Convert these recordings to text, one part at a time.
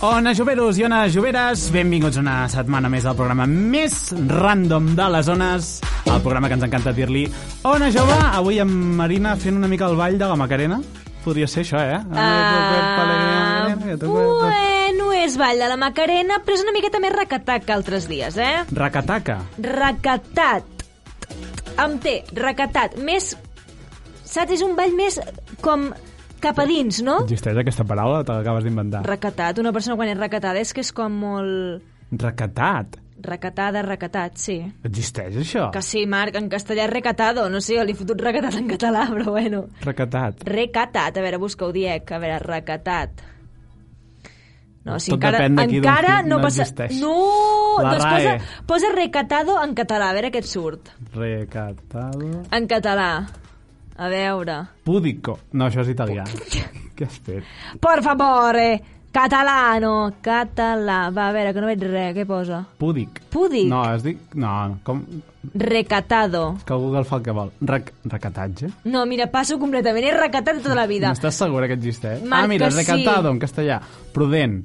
Ona Joveros i Ona Joveres, benvinguts una setmana més al programa més random de les zones, el programa que ens encanta dir-li Ona Jove, avui amb Marina fent una mica el ball de la Macarena. Podria ser això, eh? Ah, bueno, és Vall de la Macarena, però és una miqueta més racatac que altres dies, eh? Racataca. Racatat. Amb T, racatat. Més... Saps? És un ball més com cap a dins, no? Existeix aquesta paraula, te l'acabes d'inventar. Racatat. Una persona quan és racatada és que és com molt... Racatat. Racatada, racatat, sí. Existeix això? Que sí, Marc, en castellà és recatado. No sé, jo li he fotut recatat en català, però bueno. Racatat. Recatat. A veure, busca-ho, Diec. A veure, recatat. No, si Tot encara, depèn d'aquí d'on encara qui- no, no passa... existeix. No! La doncs RAE. posa, posa recatado en català, a veure què et surt. Recatado. En català. A veure... Pudico. No, això és italià. Què has fet? Por favore! Catalano! Català. Va, a veure, que no veig res. Què posa? Pudic. Pudic. No, has dit... No, no, com... Recatado. Que Google fa el que vol. Rec recatatge? No, mira, passo completament. He recatat tota la vida. N'estàs segura que existeix? Marca ah, mira, sí. recatado en castellà. Prudent.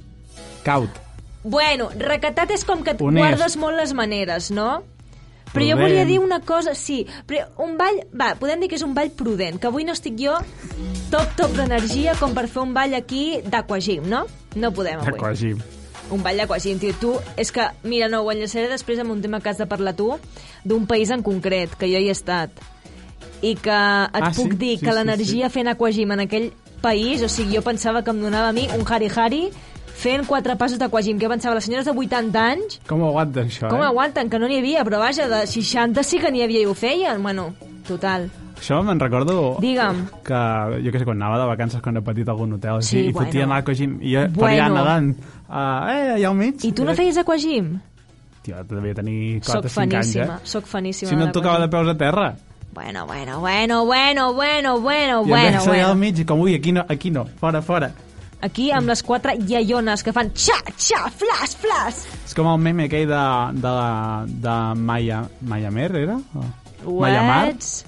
Caut. Ah, Bueno, recatat és com que et Honest. guardes molt les maneres, no? Però jo Prudent. volia dir una cosa, sí, però un ball, va, podem dir que és un ball prudent, que avui no estic jo top, top d'energia com per fer un ball aquí d'aquagim, no? No podem avui. D'acord, així. Un ball d'aquagim, tio, tu, és que, mira, no, ho enllaçaré després amb un tema que has de parlar tu, d'un país en concret, que jo hi he estat, i que et Ah, sí? puc dir Sí, que sí, l'energia fent aquagim en aquell país, o sigui, jo pensava que em donava a mi un hari-hari fent quatre passos d'aquagim, que pensava, les senyores de 80 anys, Com ho aguanten, això, com eh? aguanten, que no n'hi havia, però vaja, de 60 sí que n'hi havia i ho feien, bueno, total. Això me'n recordo... Digue'm. Que, jo què sé, quan anava de vacances, quan era petit, a algun hotel, Sí, així, i bueno. fotia l'aco així, i jo Bueno. faria nedant. Uh, eh, allà al mig. I tu no Era- feies aquagim? Tio, devia tenir Soc 4 o 5 anys, faníssima, eh? soc faníssima. Si no em tocava de d'aquagim. peus a terra. Bueno, bueno, bueno, bueno, bueno, bueno, I em bueno, veig allà bueno. al mig i com, ui, aquí no, aquí no, fora, fora. Aquí amb les quatre iaiones que fan xa, xa, flash, flash. És com el meme aquell de, de, la, de Maya, Maya Mer, era? O- Maya Mar? Uets.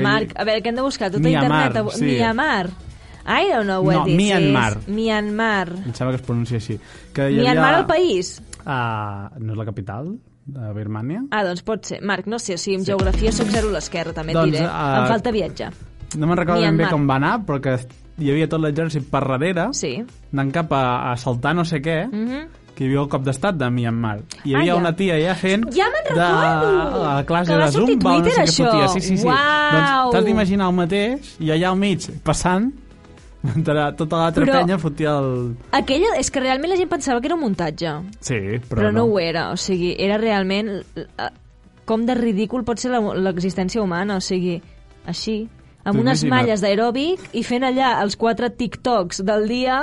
Marc, a veure, què hem de buscar? Tota Myanmar, internet. avui- sí. Myanmar. I don't know what No, this Myanmar. is. Myanmar. Em sembla que es pronuncia així. Que hi havia... Myanmar, el país? Uh, no és la capital de Birmània? Ah, doncs pot ser. Marc, no sé, o sigui, en geografia sóc zero a l'esquerra, també et Doncs, diré. eh, Em falta viatjar. No me'n recordo ben bé Myanmar. com va anar, però que hi havia tot l'exèrcit per darrere, Sí. anant cap a, a assaltar no sé què, mm Mhm. que hi havia el cop d'estat de Myanmar. Hi Ah, havia ja. una tia ja fent... Ja me'n recordo! De la classe Que va de sortir Zumba, o no sé Twitter, què fotia. això. Sí, sí, sí. Uau! Doncs t'has d'imaginar el mateix, i allà al mig, passant, mentre tota l'altra Però- penya fotia el... Aquella, és que realment la gent pensava que era un muntatge, Sí, però, però, no. no ho era. O sigui, era realment... eh, Com de ridícul pot ser la- l'existència humana, o sigui, així, amb T'ho unes imagina't. malles d'aeròbic i fent allà els quatre TikToks del dia,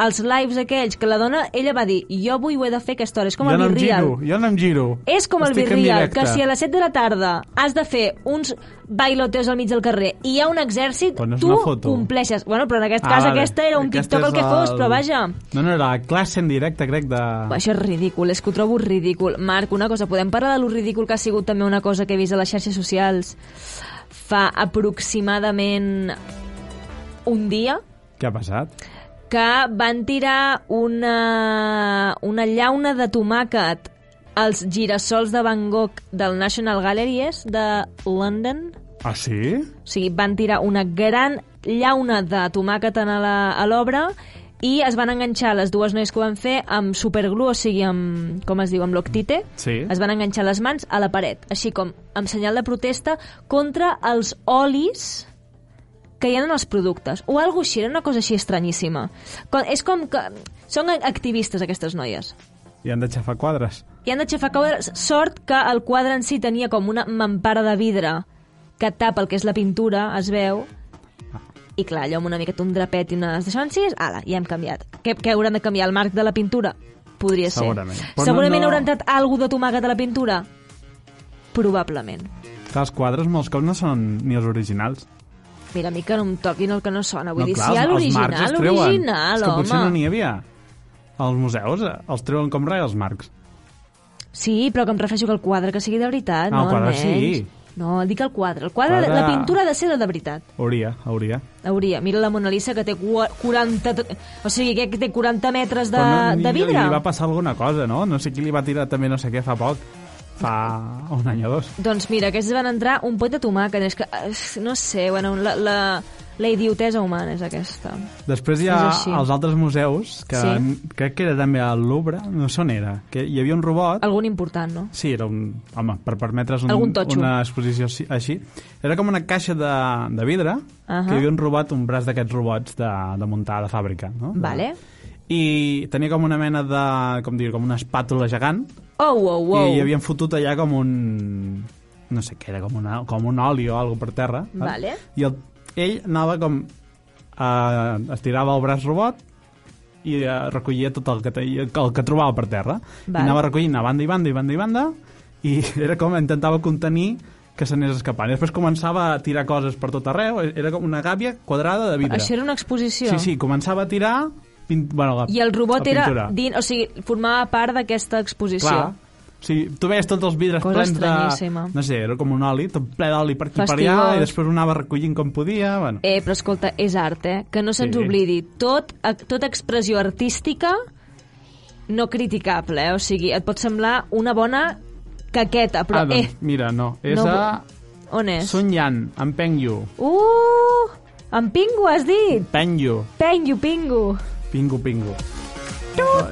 els lives aquells, que la dona, ella va dir, jo avui ho he de fer a aquesta hora, és com jo el no em Virreal. giro, jo no em giro. És com el Estic en Virreal, directe. que si a les 7 de la tarda has de fer uns bailoteos al mig del carrer i hi ha un exèrcit, Però no és tu una foto. compleixes. Bueno, però en aquest cas Ah, vale. aquesta era un Aquest TikTok és el que fos, però vaja... No, no, era classe en directe, crec, de... Això és ridícul, és que ho trobo ridícul. Marc, una cosa, podem parlar de lo ridícul que ha sigut també una cosa que he vist a les xarxes socials fa aproximadament un dia, Què ha passat? que van tirar una, una llauna de tomàquet als girassols de Van Gogh del National Gallery és, de London. Ah, sí? O sigui, van tirar una gran llauna de tomàquet en a la- a l'obra i es van enganxar les dues noies que ho van fer amb superglue, o sigui, amb, com es diu, amb l'octite. Sí. Es van enganxar les mans a la paret, així com amb senyal de protesta contra els olis que hi ha en els productes, o alguna així, era una cosa així estranyíssima. Com, és com que... Són activistes, aquestes noies. I han de xafar quadres. I han d'aixafar quadres. Sort que el quadre en si tenia com una mampara de vidre que tapa el que és la pintura, es veu. I clar, allò amb una miqueta un drapet i unes deixoncies, ala, ja hem canviat. Què, què hauran de canviar? El marc de la pintura? Podria ser. Segurament. Però no- Segurament no- hauran tret algú de tomàquet a la pintura? Probablement. Clar, els quadres molts cops no són ni els originals. Mira, a mi que no em toquin el que no sona. Vull no, dir, clar, si hi ha els- els marcs l'original, es treuen. l'original, És que potser home. no n'hi havia. Als museus eh, els treuen com res els marcs. Sí, però que em refereixo que el quadre que sigui de veritat, Ah, no, el quadre almenys. sí. No, dic el quadre. El quadre, Quadre- la pintura ha de ser la de veritat. Hauria, hauria. Hauria. Mira la Mona Lisa, que té cua- 40... t- O sigui, que té 40 metres de, Però Li, de vidre. li va passar alguna cosa, no? No sé qui li va tirar també no sé què fa poc. Fa un any o dos. Doncs mira, aquests van entrar un pot de tomàquet. És que, eh, no sé, bueno, la, la, la idiotesa humana és aquesta. Després hi ha És així. els altres museus, que Sí. n- crec que era també al Louvre, no sé on era, que hi havia un robot... Algun important, no? Sí, era un... Home, per permetre's un, Algun totxo. una exposició així- així. Era com una caixa de, de vidre, Ahà. que hi havia un robot, un braç d'aquests robots de, de muntar de fàbrica. No? Vale. I tenia com una mena de... com dir com una espàtula gegant, Oh, wow, wow. i hi havien fotut allà com un... no sé què era, com, una, com un oli o alguna per terra. saps? Vale. I el, ell anava com... Eh, estirava el braç robot i eh, recollia tot el que, te- el que trobava per terra. Vale. I anava recollint a banda i banda i banda i banda i era com intentava contenir que se n'anés escapant. I després començava a tirar coses per tot arreu, era com una gàbia quadrada de vidre. Això era una exposició. Sí, sí, començava a tirar... Pin... Bueno, la, I el robot la era pintura. din, o sigui, formava part d'aquesta exposició. Clar. Sí, tu veies tots els vidres Cosa plens de... estranyíssima. No sé, era com un oli, tot ple d'oli per aquí per Fastigós. allà, i després ho anava recollint com podia, bueno... Eh, però escolta, és art, eh? Que no se'ns Sí. oblidi. Tot, ac- tota expressió artística no criticable, eh? O sigui, et pot semblar una bona caqueta, però ah, doncs, eh, mira, no, és no no, a on és? Sun Yan, en Peng Yu. Uh! En Pingu has dit! Peng Yu, Pengu, Pingu! Pingu Pingu.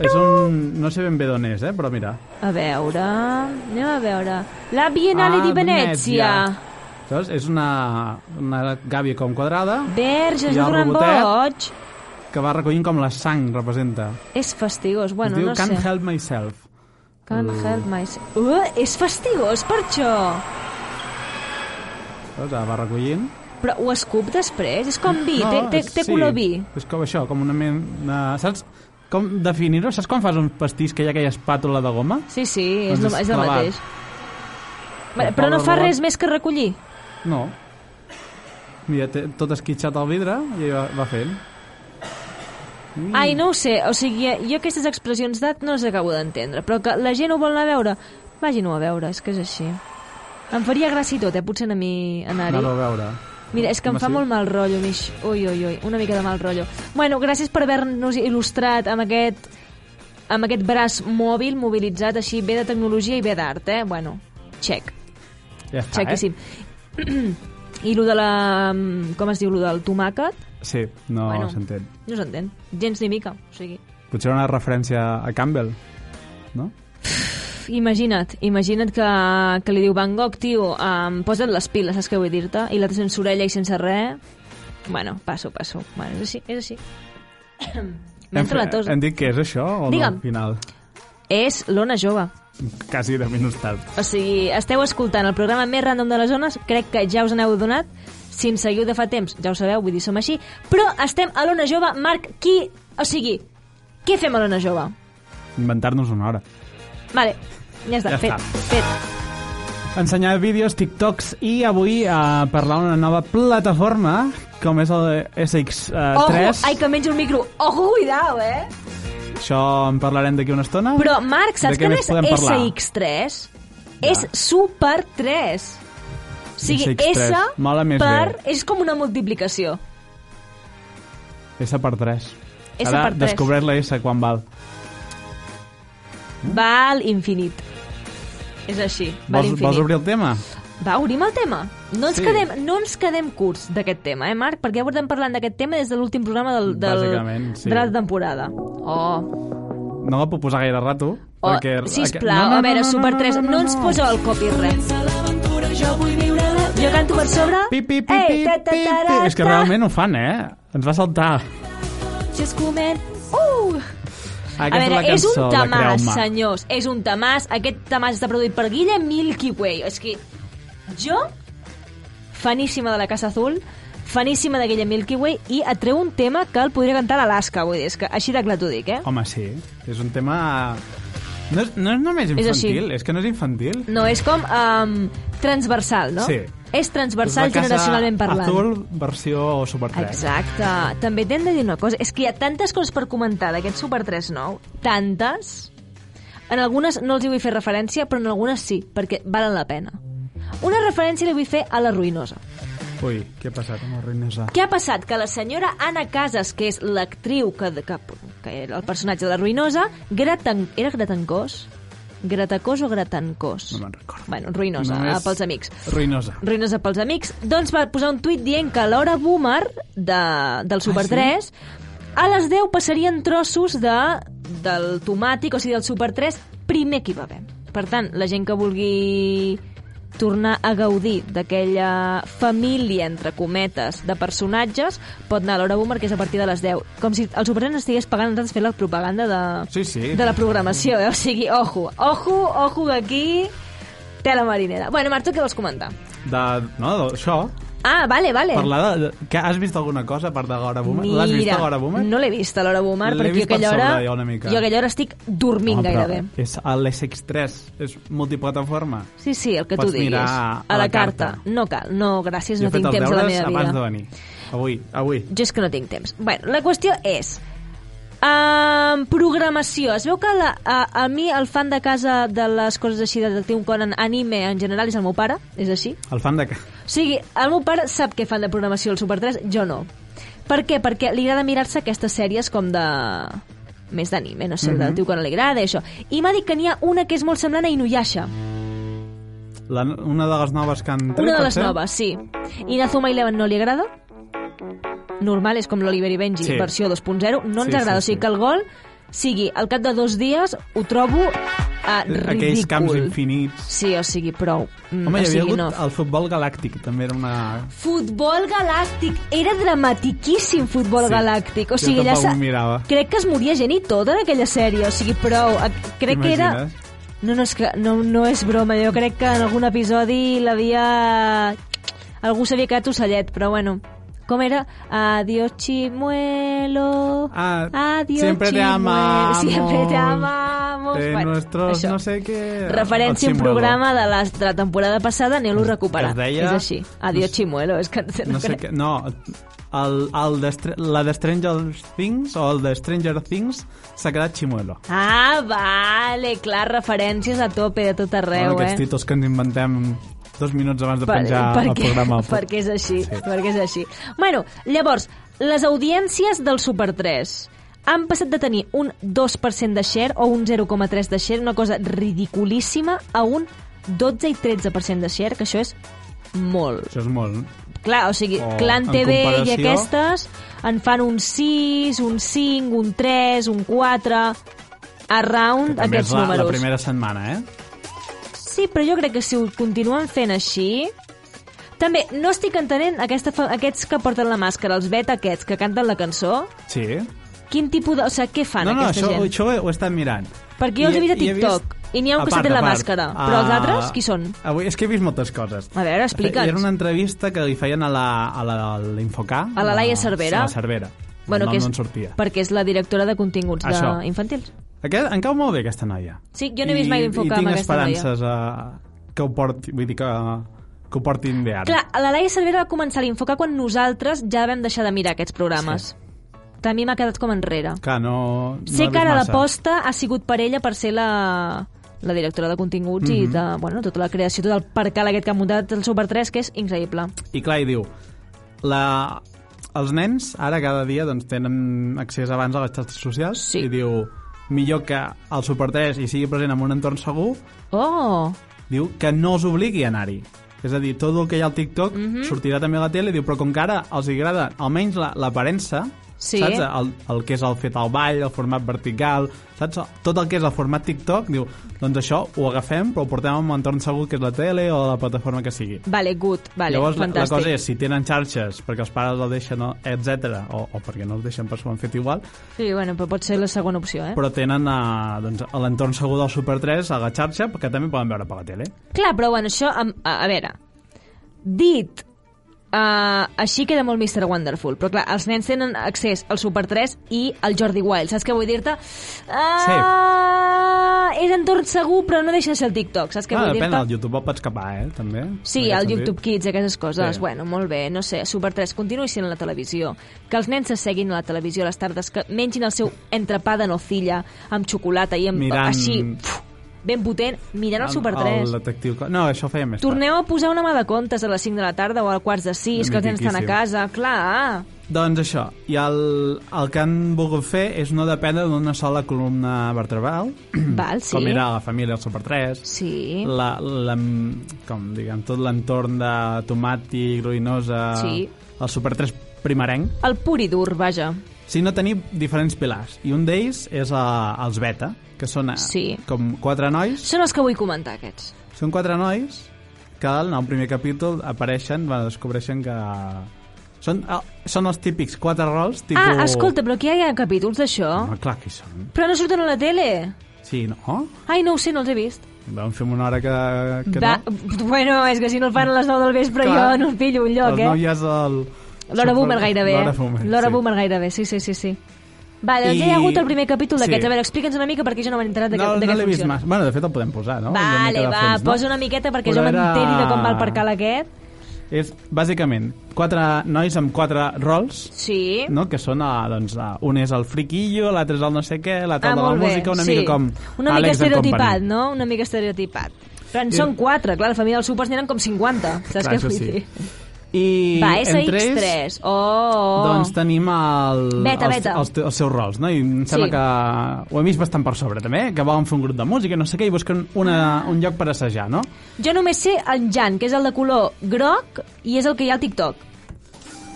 És un... no sé ben bé d'on és, eh, però mira. A veure... Anem a veure... La Biennale Ah, di Venècia! Saps? És una, una gàbia com quadrada Verges, Hi ha no el durant robotet. boig! que va recollint com la sang representa. És fastigós, bueno, es diu no sé. Can't Help Myself. Can't help myself. Uh, és fastigós per això! Saps? Ah, Va recollint. Però ho escup després? És com vi, té, té, té sí. color vi. És com això, com una ment... Una... Saps com definir-ho? Saps quan fas un pastís que hi ha aquella espàtula de goma? Sí, sí, és, Doncs lo, és el clavat. mateix. Però Però no el fa robot- res més que recollir. No. Mira, té tot esquitxat al vidre i va, va fent. Ai, no ho sé, o sigui, jo aquestes expressions d'art no les acabo d'entendre, però que la gent ho vol anar a veure, vagin-ho a veure, és que és així. Em faria gràcia i tot, eh? Potser a mi anar-hi. Anar-ho a veure. Mira, és que em Home, fa sí. molt mal rotllo, Mich. Ui, ui, ui, una mica de mal rotllo. Bueno, gràcies per haver-nos il·lustrat amb aquest amb aquest braç mòbil mobilitzat així bé de tecnologia i bé d'art, eh? Bueno, check, Ja està, eh? chequíssim. I lo de la... mm, com es diu, lo del tomàquet? eh? Sí, no Bueno. bueno. s'entén. No s'entén, gens ni mica, o sigui... Potser una referència a Campbell, no? Pff, Imagina't, imagina't que, que li diu Van Gogh, tio, um, posa't les piles, saps què vull dir-te? I l'altre sense orella i sense res... Bueno, passo, passo. Bueno, és així, és així. M'entra la fe- tos. hem dit que és això o no Digue'm. al final? És l'Ona Jove. Quasi 10 minuts tard. O sigui, esteu escoltant el programa més random de les zones, crec que ja us n'heu donat, si ens seguiu de fa temps, ja ho sabeu, vull dir, som així, però estem a l'Ona Jove, Marc, qui... O sigui, què fem a l'Ona Jove? Inventar-nos una hora. Vale, ja està, Ja fet, està. fet. ensenyar vídeos, TikToks i avui a eh, parlar una nova plataforma com és el Ojo, SX3. ai, que menjo el micro. Ojo, cuidao, eh? Això en parlarem d'aquí una estona. Però, Marc, De saps què que no més és podem parlar? SX3? És Super 3. O sigui, SX3, S mola més per... bé. És com una multiplicació. S per 3. S Ara per tres. descobreix la S quan val. Val infinit. És així, val Vols, infinit. vols obrir el tema? Va, obrim el tema. No ens, Sí. quedem, no ens quedem curts d'aquest tema, eh, Marc? Perquè ja portem parlant d'aquest tema des de l'últim programa del, del, Bàsicament, sí. de la temporada. Oh, No la puc posar gaire rato. oh perquè... sisplau, a veure, Super 3, no ens poseu el copyright. Jo canto per sobre... Pip, pip, pip, Ei, pip, pip, pip. ta-ta-ta-ta. És que realment ho fan, eh? Ens va saltar. Just comen... Uh! Aquesta a veure, és, la és cançó, un de tamàs, Creu-me. senyors. És un tamàs. Aquest tamàs està produït per Guille Milky Way. És que jo, faníssima de la Casa Azul, faníssima de Guille Milky Way, i et treu un tema que el podria cantar l'Alaska, vull dir. És que així de clar t'ho dic, eh? Home, sí. És un tema... No és, no és només És així. infantil, és, és que no és infantil. No, és com um, transversal, no? Sí. És transversal Casa generacionalment parlant. Azul, versió Super 3. Exacte. També t'hem de dir una cosa. És que hi ha tantes coses per comentar d'aquest Super 3 nou. Tantes. En algunes no els hi vull fer referència, però en algunes sí, perquè valen la pena. Una referència li vull fer a la ruïnosa. Ui, què ha passat amb la Reinesa? Què ha passat? Que la senyora Anna Casas, que és l'actriu que, que, que era el personatge de la ruïnosa, gratan, era gratancós? Gratacós o gratancós? No me'n recordo. Bueno, ruïnosa, Només- Només... pels amics. Ruïnosa. Ruïnosa pels amics. Doncs va posar un tuit dient que a l'hora boomer de, del Super sí? 3 a les 10 passarien trossos de, del tomàtic, o sigui, del Super 3 primer que hi va haver. Per tant, la gent que vulgui tornar a gaudir d'aquella família, entre cometes, de personatges, pot anar a l'hora boomer, que és a partir de les 10. Com si el Super 3 ens estigués pagant a nosaltres fer la propaganda de, Sí, sí. de la programació, eh? O sigui, ojo, ojo, ojo, que aquí té la marinera. Bueno, Marc, tu què vols comentar? De, no, d'això, Ah, vale, vale. parlar de... Que has vist alguna cosa a part de Gora Boomer? L'has vist a Gora Boomer? no l'he vist a l'hora boomer, L'he perquè jo vist per aquella hora, sobre, jo, una mica. jo aquella hora estic dormint Home, però gairebé. És a l'SX3, és multiplataforma. Sí, sí, el que Pots tu diguis. mirar a, a la, la carta. carta. No cal, no, gràcies, Jo no he fet tinc els temps a la deures meva abans de vida. venir. Avui, avui. Jo és que no tinc temps. Bueno, la qüestió és... Um, programació. Es veu que la, a, a mi el fan de casa de les coses així de Detectiu Conan anime en general és el meu pare, és així. El fan de... ca- O sigui, el meu pare sap què fan de programació al Super 3, jo no. Per què? Perquè li agrada mirar-se aquestes sèries com de... més d'anime, no sé, mm Mhm. -hmm. el tio que no li agrada, i això. I m'ha dit que n'hi ha una que és molt semblant a Inuyasha. La, una de les noves que han tret, Una de les potser? noves, sí. Inazuma Eleven no li agrada? Normal, és com l'Oliver i Benji, Sí. sí. versió 2.0. No ens Sí, agrada, sí, o sigui sí. que el gol sigui al cap de dos dies, ho trobo eh, ridícul. Aquells camps infinits. Sí, o sigui, prou. Mm, Home, hi o havia sigui, hagut no. el futbol galàctic, també era una... Futbol galàctic. Era dramatiquíssim, futbol Sí. galàctic. O Jo sigui, tampoc s'ha- ho mirava. Crec que es moria gent i tot en aquella sèrie. O sigui, prou. A- Crec que era... T'imagines? No, no, és que, no, no és broma. Jo crec que en algun episodi l'havia... Algú s'havia quedat ocellet, però bueno... Com era? Adiós, chimuelo. Ah, Adiós, siempre te chimuelo. amamos. Siempre te amamos. De bueno, nuestros això. no sé què- Referència a El un Chimuelo. programa de la, de la temporada passada, aneu-lo a recuperar. Es deia- És així. Adiós, no sé- chimuelo. És que no, No sé crec- què... No, el, el de, Str- la de Stranger Things o el de Stranger Things s'ha quedat Chimuelo. Ah, vale, clar, referències a tope de tot arreu, Bueno, aquests eh? títols que ens inventem dos minuts abans de penjar el programa. perquè és així, sí. perquè és així. Bueno, llavors, les audiències del Super 3 han passat de tenir un 2% de share o un 0,3 de share, una cosa ridiculíssima, a un 12 i 13% de share, que això és molt. Això és molt... Clar, o sigui, O, oh, Clan en TV i comparació- aquestes en fan un 6, un 5, un 3, un 4, around També és aquests la, números. la primera setmana, eh? Sí, però jo crec que si ho continuen fent així... També, no estic entenent aquesta, fa- aquests que porten la màscara, els beta aquests que canten la cançó, Sí. quin tipus de... O sigui, què fan no, no, aquesta això, gent? això ho, he- ho he estat mirant. Perquè jo els he vist a TikTok, i n'hi ha un A que part, s'ha tret la a part. Ah, màscara, però els altres, qui són? Avui, és que he vist moltes coses. A veure, explica'ns. Era una entrevista que li feien a la, a la, a l'Infocà. A la Laia Cervera. A la Cervera. Bueno, el nom que és, no en sortia. perquè és la directora de continguts de... Això. infantils. Aquest, em cau molt bé aquesta noia. Sí, jo no he vist mai I, i l'Infocà amb tinc aquesta noia. esperances a, que ho porti, vull dir que, que ho portin bé ara. Clar, la Laia Cervera va començar a l'infocar quan nosaltres ja vam deixar de mirar aquests programes. Sí. A mi m'ha quedat com enrere. Clar, no... no sé he que ara vist massa. l'aposta ha sigut per ella per ser la, la directora de continguts Mhm. i de, bueno, tota la creació, tot el percal aquest que ha muntat el Super 3, que és increïble. I clar, i diu... La... Els nens ara cada dia doncs, tenen accés abans a les xarxes socials Sí. i diu millor que el Super 3 hi sigui present en un entorn segur, Oh! diu que no els obligui a anar-hi. És a dir, tot el que hi ha al TikTok Mhm. sortirà també a la tele, diu, però com que ara els agrada almenys la- l'aparença, Sí. saps? El, el que és el fet al ball, el format vertical, saps? Tot el que és el format TikTok, diu, doncs això ho agafem, però ho portem a un entorn segur que és la tele o la plataforma que sigui. Vale, good, vale, Llavors, la, la fantàstic. cosa és, si tenen xarxes perquè els pares el deixen, etc o, o perquè no els deixen, però s'ho han fet igual, Sí, bueno, però pot ser la segona opció, eh? Però... però tenen eh, doncs, a l'entorn segur del Super 3 a la xarxa, que també poden veure per la tele. Clar, però bueno, això, a, a, a veure, dit uh, així queda molt Mr. Wonderful, però clar, els nens tenen accés al Super 3 i al Jordi Wild, saps què vull dir-te? Ah, sí. És entorn segur, però no deixa de ser el TikTok, saps què Ah, vull depèn, dir-te? el YouTube el pots capar, eh, també. Sí, en el aquest sentit. YouTube Kids, aquestes coses. Sí. Sí. Bueno, molt bé, no sé, Super 3, continuï sent a la televisió. Que els nens se seguin a la televisió a les tardes, que mengin el seu entrepà de nocilla amb xocolata i amb, Mirant- així... Puf, ben potent, mirant el Super 3. El detectiu... Co- No, això ho feia més Torneu a posar una mà de comptes a les 5 de la tarda o a quarts de 6, que els nens estan a Mitiquíssim. casa. Clar, tard. Doncs això, i el, el que han volgut fer és no dependre d'una sola columna vertebral, val, sí. Mm. com era la família del Super 3, Sí, la, la, com diguem, tot l'entorn de tomàtic, ruïnosa, Sí. el Super 3 primerenc, el pur i dur, vaja. sinó tenir diferents pilars. I un d'ells és eh, els beta, que són eh, Sí. com quatre nois. Són els que vull comentar, aquests. Són quatre nois que en el primer capítol apareixen, bueno, descobreixen que... Són, ah, són els típics quatre rols, tipus... Ah, escolta, però aquí hi ha capítols d'això? Home, clar que hi són. Però no surten a la tele. Sí, no? Ai, no ho sé, no els he vist. Vam fer una hora que, que Va, no. Bueno, és que si no el fan a les 9 del vespre Clar. jo no el pillo un lloc, Les nou eh? ja és el... L'hora boomer gairebé, eh? L'hora boomer, L'hora sí. boomer gairebé, sí, sí, sí, sí. Va, doncs I- ja hi ha hagut el primer capítol d'aquests. sí. A veure, explica'ns una mica perquè jo no m'he enterat de, no, què- de no què l'he vist funciona. massa. Bueno, de fet el podem posar, no? Una Vale, mica de va, fons, no? posa una miqueta perquè Però jo era- m'enteri de com va el percal aquest. És, bàsicament, quatre nois amb quatre rols, Sí. no? que són, eh, doncs, eh, un és el friquillo, l'altre és el no sé què, l'altre Ah, el de la molt bé, música, una sí. mica com Una mica Alex and estereotipat, Company. no? Una mica estereotipat. Però en Sí. són quatre, clar, la família dels supers n'eren com 50, saps Clar, què això vull sí. dir? I Va, és entre ells, X3. Oh, oh. doncs tenim el, Beta, els, beta. Els, te- els, seus rols, no? I em sembla Sí. que ho hem vist bastant per sobre, també, eh? que volen fer un grup de música, no sé què, i busquen una, un lloc per assajar, no? Jo només sé el Jan, que és el de color groc i és el que hi ha al TikTok.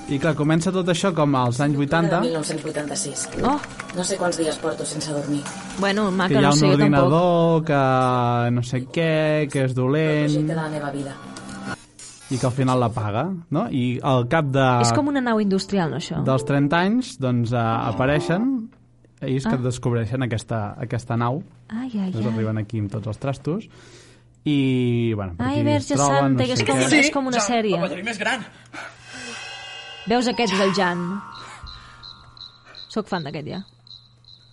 I clar, comença tot això com als anys 80, De 1986. Oh, No sé quants dies porto sense dormir. bueno, maca, que hi ha Ah, no un sé, jo tampoc. ordinador, que no sé què, que és El dolent... projecte de la meva vida. i que al final la paga, no? I al cap de, És com una nau industrial, no, això? dels 30 anys, doncs, uh, apareixen i és que Ah. descobreixen aquesta, aquesta nau. Ai, ai, Doncs ai. arriben aquí amb tots els trastos i, bueno, per Ai, aquí es Verge troben, Santa, que no és sé com, què. és com una sèrie. El més gran. Veus aquest és el Jan. Soc fan d'aquest, ja.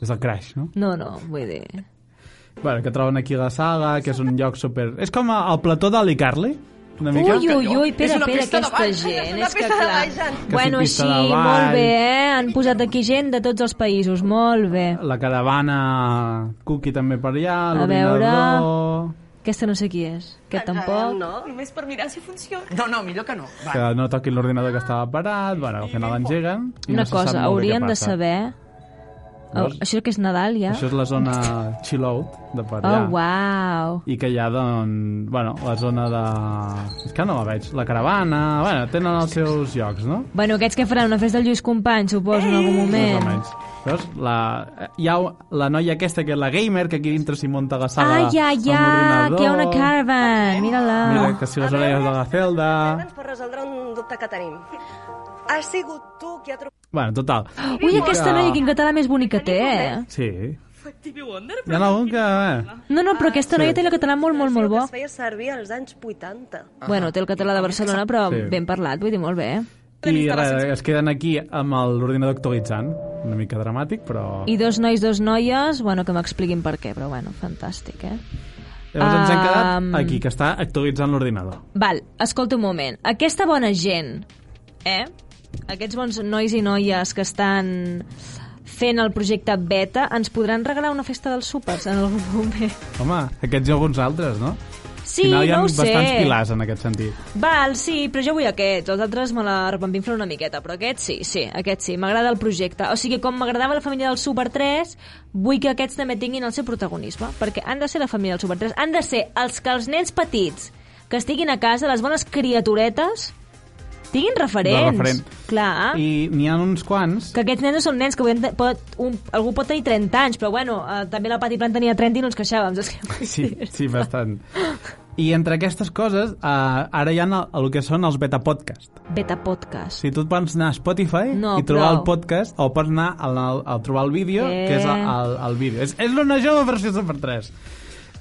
És el Crash, no? No, no, vull dir... Bueno, que troben aquí la saga, que és un lloc super... És com el plató d'Ali Carly, una mica. Ui, ui, ui, És pera, una pera, pista de aquesta ball. gent, una és que pista de clar... ball, Jan. Que Bueno, sí, sí, pista de ball. molt bé, eh? Han posat aquí gent de tots els països, molt bé. La caravana Cookie també per allà, A l'ordinador... Aquesta no sé qui és, aquest tampoc. No, només per mirar si funciona. No, no, millor que no. Va. que no toquin l'ordinador que estava parat, bueno, al final l'engeguen... i Una no se sap cosa, molt bé què haurien de passa. saber... Oh, Veus? això que és Nadal, ja? Això és la zona chill out de per allà. Oh, wow. I que hi ha, doncs, bueno, la zona de... És que no la veig. La caravana... Bueno, tenen els seus llocs, no? Bueno, aquests que faran una festa del Lluís Companys, suposo, en Eh! algun Més o moment. menys. Veus? La, hi ha la noia aquesta, que és la gamer, que aquí dintre s'hi munta la sala Ai, ja, amb ja, l'ordinador. que hi ha una caravan, Mira, mira-la. que si les orelles de la Zelda... Ah. Ens per resoldre un dubte que tenim. Has sigut tu qui ha trobat... Bueno, total. Ui, aquesta noia, quin català més bonic que té, eh? Sí. Hi ha algun que... Eh, No, no, però aquesta noia té el català molt, molt, molt que bo. es feia servir als anys 80. Bueno, té el català de Barcelona, però Sí. ben parlat, vull dir, molt bé. I res, es queden aquí amb l'ordinador actualitzant. Una mica dramàtic, però... I dos nois, dos noies, bueno, que m'expliquin per què, però bueno, fantàstic, eh? Llavors ens hem Um, quedat aquí, que està actualitzant l'ordinador. Val, escolta un moment. Aquesta bona gent, eh? Aquests bons nois i noies que estan fent el projecte Beta ens podran regalar una festa dels súpers en algun moment. Home, aquests i alguns altres, no? Sí, Al final hi ha no ho sé. bastants pilars en aquest sentit. Val, sí, però jo vull aquests. Els altres me la repampinflo una miqueta, però aquests sí, sí, aquests sí. M'agrada el projecte. O sigui, com m'agradava la família del Super 3, vull que aquests també tinguin el seu protagonisme, perquè han de ser la família del Super 3. Han de ser els que els nens petits que estiguin a casa, les bones criaturetes, tinguin referents. referent. Clar. I... I n'hi ha uns quants... Ah? Que aquests nens no són nens, que avui en- pot, un, algú pot tenir 30 anys, però bueno, eh, també la Pati Plan tenia 30 i no ens queixàvem. saps què vull Sí, dir? sí, bastant. I entre aquestes coses, eh, ara hi ha el, el que són els beta podcast. Beta Podcast. Si tu et pots anar a Spotify No, i trobar prou. el podcast, o pots anar a, a, a trobar el vídeo, Eh. que és el, el, el vídeo. És, és l'una jove versió Super 3.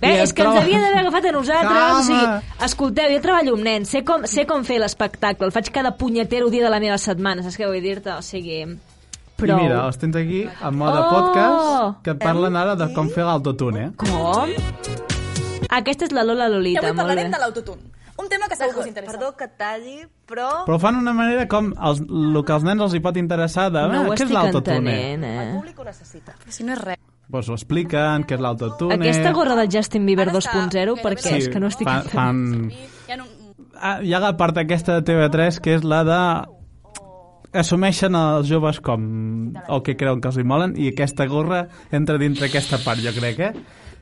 Bé, és que ens havien d'haver agafat a nosaltres. Home. O sigui, escolteu, jo treballo amb nens, sé com, sé com fer l'espectacle, el faig cada punyetero dia de la meva setmana, saps què vull dir-te? O sigui, Però... prou. I mira, els tens aquí en mode Oh! podcast que et parlen ara de com fer l'autotune. Eh? Com? Aquesta és la Lola Lolita, Avui molt bé. parlarem de l'autotune. Un tema que segur que us interessa. Perdó que et talli, però... Però ho fan d'una manera com els, el que als nens els hi pot interessar de... No "Ah, ho què és estic l'autotune? entenent, El eh? públic ho necessita. Si no és res. Doncs ho expliquen, què és l'autotune... Aquesta gorra del Justin Bieber Ara està, 2.0, per gairebé què és? Que no estic fan, entenent. fan... Hi ha un... Ah, hi ha la part aquesta de TV3 que és la de assumeixen els joves com el que creuen que els hi molen i aquesta gorra entra dintre aquesta part, jo crec, eh?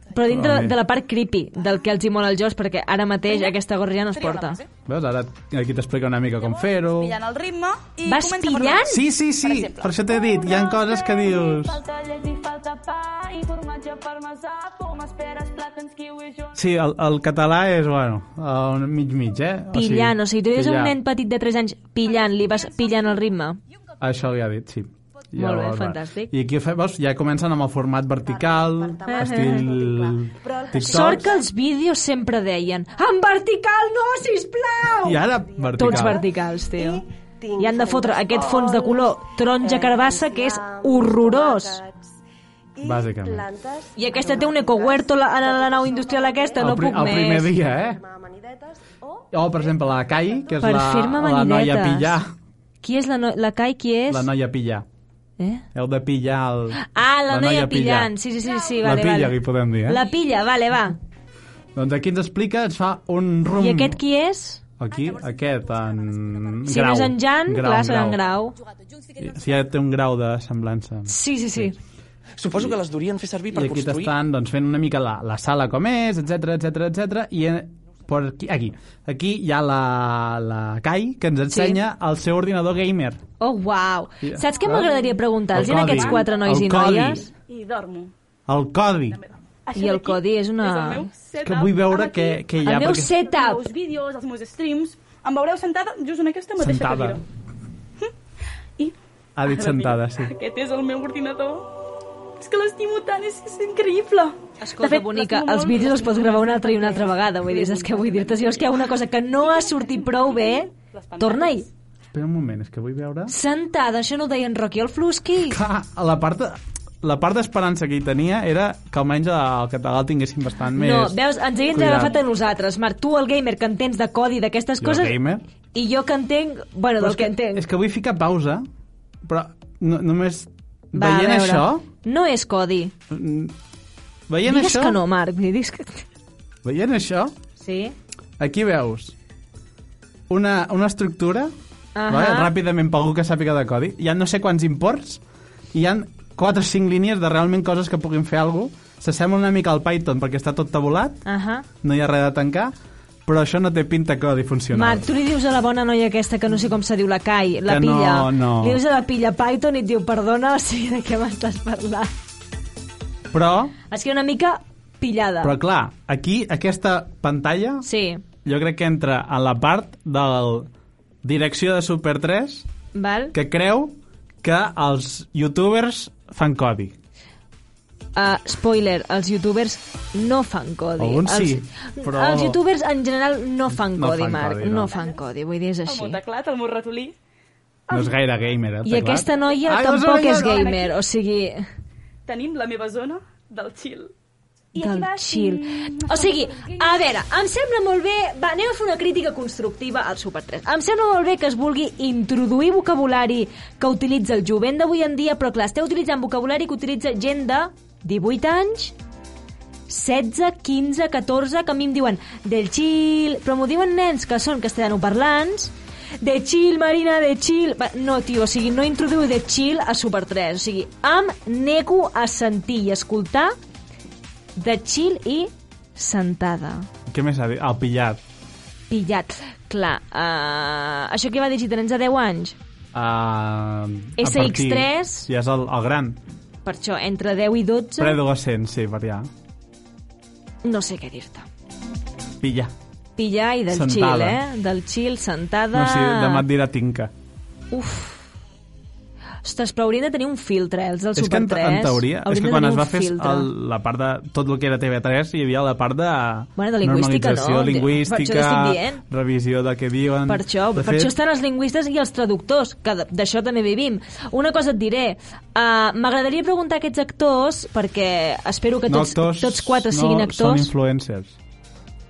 Però dintre Home. de la part creepy del que els hi mola els jocs, perquè ara mateix aquesta gorra ja no es Tria la porta. base. Veus, ara aquí t'explica una mica com fer-ho... Pillant el ritme i Vas comença per pillant? Sí, sí, Per sí, exemple. per això t'he dit, hi ha coses que dius... Falta llet i falta pa i formatge parmesà, pomes, peres, plàtans, kiwis, junts. Sí, el, el català és, bueno, eh, un mig-mig, eh? Pillant, o sigui, tu dius a un pillar. nen petit de 3 anys pillant, li vas pillant el ritme. Això ja ha dit, sí. Molt bé, veus, va. fantàstic. I aquí ho fe- veus, ja comencen amb el format vertical, clar. estil Però el que TikTok, Sort que els vídeos sempre deien en vertical no, sisplau! i ara vertical. Tots verticals, tio. I han de fotre aquest fons de color taronja carabassa que és horrorós. Bàsicament. I aquesta té un ecohuerto la- a la, la nau industrial aquesta, El no pri- puc el primer més. dia, eh? O, per exemple, la Kai, que és Per fer-me la, la noia manidetes. pillar. Qui és la, no la Kai, qui és? La noia pillar. Eh? Heu de pillar el... Ah, la, noia, pillant. Sí, sí, sí, sí, La vale, pilla, vale. li podem dir, eh? La pilla, vale, va. Doncs aquí ens explica, ens fa un rum... I aquest qui és? Aquí, aquest, en... Si no és en Jan, clar, serà en Grau. Si ja té un grau de semblança. Sí, sí, sí. Suposo que les durien fer servir per I aquí construir... t'estan doncs, fent una mica la, la sala com és, etc etc etc i eh, per aquí, aquí, aquí hi ha la, la Kai que ens ensenya sí. el seu ordinador gamer. Oh, wow. Ja. Saps què m'agradaria preguntar-los El a codi. aquests quatre nois El i codi. noies? I dormo. El codi. I el codi és una... És Que vull veure què, què hi El ha. perquè... meu Els setup! meus vídeos, els meus streams, em veureu sentada just en aquesta mateixa Sentada. cadira. I Ha dit sentada, sí. aquest és el meu ordinador. És que l'estimo tant, és, és increïble. Escolta, bonica, els vídeos els pots gravar una altra i una altra vegada. Vull dir, és que vull dir-te, si veus que hi ha una cosa que no ha sortit prou bé, torna-hi. Espera un moment, és que vull veure... Sentada, això no ho deia en Rocky el Flusky. Clar, la part... de- La part d'esperança que hi tenia era que almenys el català el tinguessin bastant més... No, veus, ens havíem cuidat. agafat a nosalles. Marc, tu, el gamer, que entens de codi d'aquestes Jo, coses... gamer? I jo que entenc... Bueno, Però del és que entenc. És que vull ficar pausa, però no, només Va, a veient veure. això... No és codi. Veient Digues això, que no, Marc. Digues que... veient això, Sí? aquí veus una, una estructura, Ahà. vale? ràpidament per algú que sàpiga de codi, hi ha no sé quants imports, i hi ha 4 o 5 línies de realment coses que puguin fer alguna cosa, s'assembla una mica al Python perquè està tot tabulat, Ahà. no hi ha res de tancar, però això no té pinta codi funcional. Marc, tu li dius a la bona noia aquesta, que no sé com se diu, la Kai, la Que no, pilla. no. Li dius a la pilla Python i et diu, perdona, o sigui, de què m'estàs parlant? Però, És que una mica pillada. però clar, aquí aquesta pantalla Sí, jo crec que entra a la part del direcció de Super 3 val? que creu que els youtubers fan codi. Uh, spoiler, els youtubers no fan codi. Alguns els, sí, però- Els youtubers en general no fan No codi, fan Marc. codi, no. no. fan codi, vull dir, és El així. meu teclat, el meu ratolí. No és gaire gamer, eh? el I teclat. aquesta noia Ai, les tampoc orelles! és gamer, o sigui... Tenim la meva zona del chill. del chill. O sigui, a veure, em sembla molt bé... Va, anem a fer una crítica constructiva al Super 3. Em sembla molt bé que es vulgui introduir vocabulari que utilitza el jovent d'avui en dia, però clar, esteu utilitzant vocabulari que utilitza gent de 18 anys, 16, 15, 14, que a mi em diuen del chill, però m'ho diuen nens que són castellanoparlants, de chill, Marina, de chill... Va, No, tio, o sigui, no introduïu de chill a Super 3. O sigui, em nego a sentir i escoltar de chill i sentada. Què més ha dit? El pillat. Pillat. Clar, uh, això que va dir si tens a 10 anys? Uh, SX3. Ja és el, el gran. Per això, entre 10 i 12, Preadolescent, sí, per allà. no sé què dir-te. Pillar. Pillar i del Sentada. chill, eh? Del chill, sentada... No sé, demà et dirà tinca. Uf. Ostres, però haurien de tenir un filtre, eh, els del és que Super en, 3. en teoria, és Haurien que de quan tenir es va un fer filtre. el, la part de tot el que era TV3 hi havia la part de, Bueno, de lingüística, normalització no? De- per lingüística, això estic dient. revisió de què diuen... Per això, de per això estan els lingüistes i els traductors, que d- d'això també vivim. Una cosa et diré, uh, m'agradaria preguntar a aquests actors, perquè espero que no tots, actors, tots quatre no, siguin Són actors. influencers.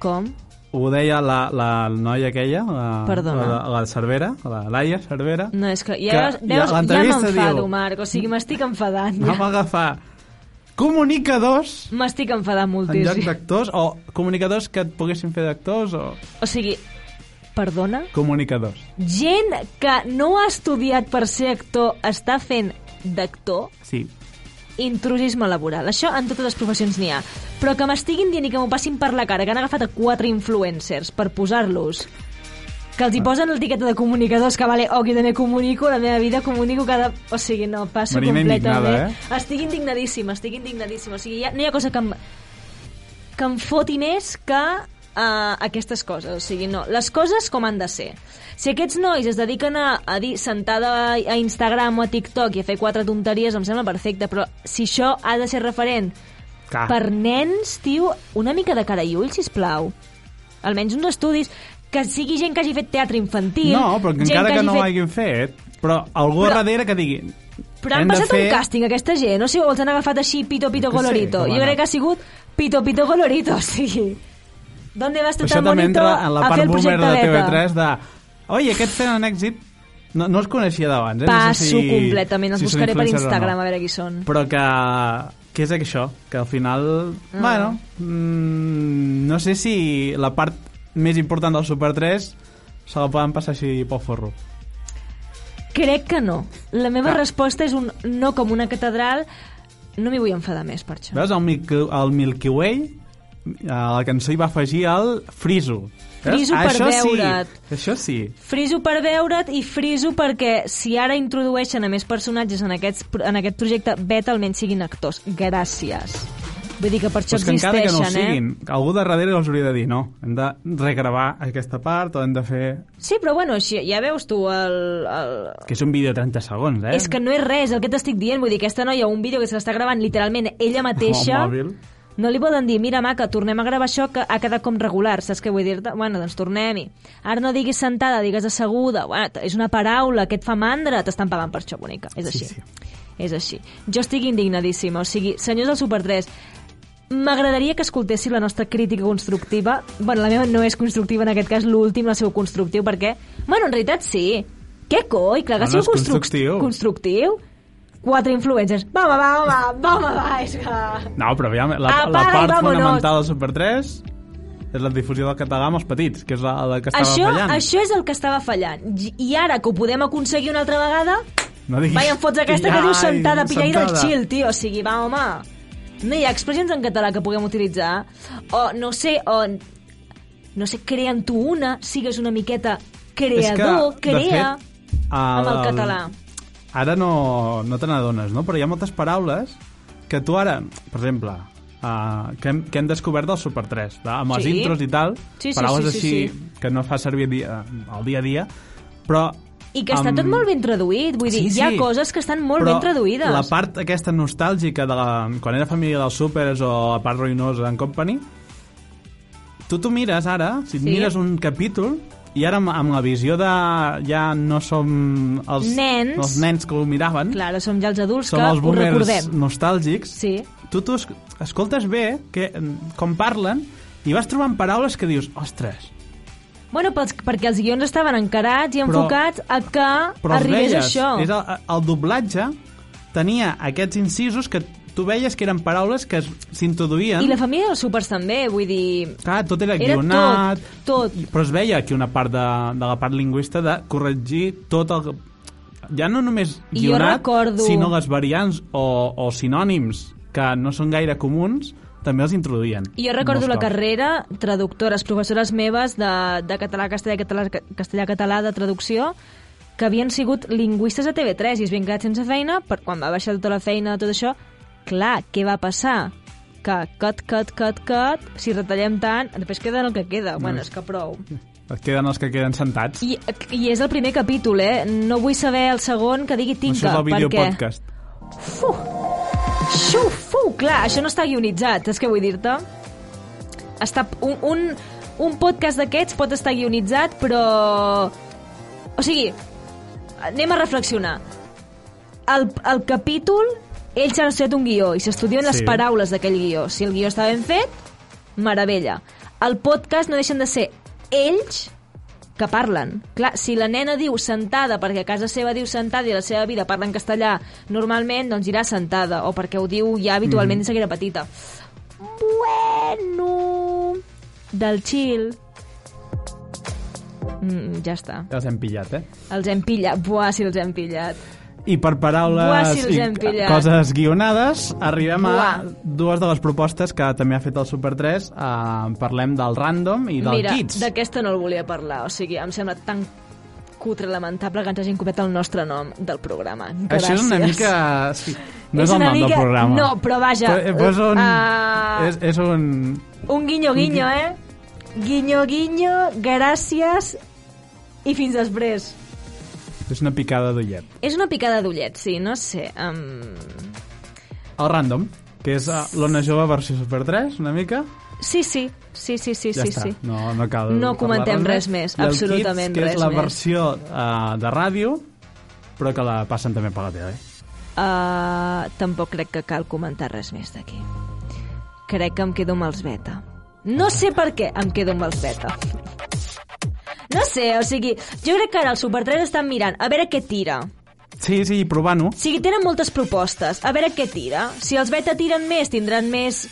Com? Ho deia la, la noia aquella, la, Perdona. la, la Cervera, la Laia Cervera. No, és que ja, Que veus, ja- ja, ja l'entrevista m'enfado, diu- Marc, o sigui, m'estic enfadant. Vam agafar comunicadors M'estic enfadant en lloc moltíssim. d'actors o comunicadors que et poguessin fer d'actors o O sigui, perdona? comunicadors. Gent que no ha estudiat per ser actor està fent d'actor Sí. intrusisme laboral. Això en totes les professions n'hi ha. Però que m'estiguin dient i que m'ho passin per la cara, que han agafat a quatre influencers per posar-los, que els hi posen l'etiqueta de comunicadors, que vale, oh, que jo també comunico, la meva vida comunico cada... O sigui, no, passo Marina completament. indignada, Estic indignadíssima, estic indignadíssima. O sigui, ja, no hi ha cosa que em, que em foti més que uh, aquestes coses. O sigui, no, les coses com han de ser. Si aquests nois es dediquen a, a dir sentada a, a Instagram o a TikTok i a fer quatre tonteries, em sembla perfecte, però si això ha de ser referent Clar. per nens, tio, una mica de cara i ull, sisplau. Almenys uns estudis que sigui gent que hagi fet teatre infantil... No, però que gent encara que, no ho hagi hagin fet, però algú però, Però- darrere que digui... fet... Però han "Hem de passat fer... un càsting, aquesta gent. No sé, o els han agafat així, pito, pito, Jo què sé, colorito. com Jo anar. crec que ha sigut pito, pito, colorito, o sigui... ¿Dónde vas tu Però això tan també bonito entra en la a fer part el boomer de projecte beta? TV3 de... Oi, aquests tenen èxit... No, no els coneixia d'abans, eh? Passo no sé si, completament, els si són buscaré per influencers o Instagram no. a veure qui són. Però que... Què és això? Que al final... Ah. Mm. Bueno, mm, no sé si la part més important del Super 3 se la poden passar així pel forro. Crec que no. La meva Clar. resposta és un no com una catedral. No m'hi vull enfadar més per això. Veus, el, Milky, el Milky Way, a la cançó hi va afegir el Friso. Friso per això veure't. Sí, això sí. Friso per veure't i friso perquè si ara introdueixen a més personatges en, aquests, en aquest projecte beta almenys siguin actors. Gràcies. Vull dir que per Però això és que encara que no ho existeixen, eh? siguin, algú de darrere els hauria de dir no, hem de regravar aquesta part o hem de fer... eh? Sí, però bueno, així, ja veus tu el... el... Que és un vídeo de 30 segons, eh? És que no és res el que t'estic dient. Vull dir, aquesta noia, un vídeo que se l'està gravant literalment ella mateixa... Amb el Oh, mòbil. No li poden dir, mira, maca, tornem a gravar això que ha quedat com regular, saps què vull dir-te? Bueno, doncs tornem-hi. Ara no diguis sentada, digues asseguda. Bueno, t- és una paraula que et fa mandra, t'estan pagant per això, bonica. És Sí, així. És així. Jo estic indignadíssima. O sigui, senyors del Super 3, M'agradaria que escoltéssiu la nostra crítica constructiva. Bueno, la meva no és constructiva, en aquest cas l'últim, el seu constructiu, perquè... Bueno, en realitat sí. Què coi? Clar que No, sí, no és construc- constructiu. constructiu. Quatre influencers. Va, va, va, va, va, va, va, és que... No, però aviam, la, la Apaga i part vámonos. fonamental del Super 3 és la difusió del català amb els petits, que és la, la que estava això, fallant. això és el que estava fallant. I- I ara que ho podem aconseguir una altra vegada, No diguis... vaja, em fots aquesta que Ai, diu sentada, pilla i del sentada. chill, tio. O sigui, va, home, no hi ha expressions en català que puguem utilitzar. O, no sé, o... No sé, crea'n tu una, sigues una miqueta creador, de crea... fet, amb el català. Ara no, no te n'adones, no? Però hi ha moltes paraules que tu ara, per exemple, uh, que, hem, que hem descobert del Super 3, de, amb els Sí. intros i tal, Sí, sí, paraules sí, sí, així sí. que no fa servir dia, eh, el dia a dia, però... I que està amb- tot molt ben traduït, vull dir, hi ha coses que estan molt però ben traduïdes. la part aquesta nostàlgica de la, quan era família dels súpers o la part ruïnosa en company, tu t'ho mires ara, si sí. Sí. mires un capítol, i ara amb, amb la visió de ja no som els Nens. els nens que ho miraven, Clar, ara som ja els adults som que els ho boomers recordem. nostàlgics, Sí. tu t'ho es- escoltes bé que, com parlen i vas trobant paraules que dius, ostres, Bueno, pels, perquè els guions estaven encarats i Però- enfocats a que però els arribés veies, això. és el, el doblatge tenia aquests incisos que tu veies que eren paraules que es- s'introduïen I la família dels súpers també, vull dir... Clar, tot era, Era guionat... tot, tot. Però es veia aquí una part de, de la part lingüista de corregir tot el... que- Ja no només I jo guionat, recordo- sinó les variants o, o sinònims que no són gaire comuns, també els introduïen. I jo recordo Molts la cops. carrera, traductores, professores meves de, de català, castellà, català, castellà, català, de traducció, que havien sigut lingüistes a TV3 i es havien quedat sense feina, per quan va baixar tota la feina, tot això, clar, què va passar? Que cut, cut, cut, cut, si retallem tant, després queda el que queda. Bueno, és que prou. Es queden els que queden sentats. I, I és el primer capítol, eh? No vull saber el segon que digui tinca, Això és el perquè... videopodcast. Fu! Xiu, fu! Clar, això no està guionitzat, és que vull dir-te. Està... Un, un, un podcast d'aquests pot estar guionitzat, però... O sigui, anem a reflexionar. El, el capítol, ells han estudiat un guió i s'estudien les Sí. paraules d'aquell guió. Si el guió està ben fet, meravella. El podcast no deixen de ser ells que parlen. Clar, si la nena diu sentada perquè a casa seva diu sentada i a la seva vida parla en castellà normalment, doncs irà sentada, o perquè ho diu ja habitualment mm. des que era petita. Bueno... Del chill... Mm, ja està. Els hem pillat, eh? Els hem pillat. Buah, si els hem pillat. I per Buah, paraules si els i hem pillat. coses guionades, arribem a Buah. dues de les propostes que també ha fet el Super 3. Uh, parlem del random i del Mira, kids. d'aquesta no el volia parlar, o sigui, em sembla tan cutre lamentable que ens hagin copiat el nostre nom del programa. Gràcies. Això és una mica... Sí, no és, És el una nom mica- del programa. no, però vaja, Però, eh, però és un... ah. És, és un... Un guinyo, guinyo, eh? Guinyo, guinyo, gràcies i fins després. És una picada d'ullet. És una picada d'ullet, sí, no sé. Um... El random, que és ah, l'Ona Jove versió Super 3, una mica. Sí, sí, sí, sí, sí, Ja sí, està. sí. No, no cal No parlar comentem res més, I el absolutament Kids, que res és la més. versió uh, de ràdio, però que la passen també per la tele. Uh, tampoc crec que cal comentar res més d'aquí. Crec que em quedo amb els beta. No sé per què em quedo amb els beta. No sé, o sigui, jo crec que ara els Super 3 estan mirant a veure què tira. Sí, sí, i provant-ho. O sigui, tenen moltes propostes, a veure què tira. Si els beta tiren més, tindran més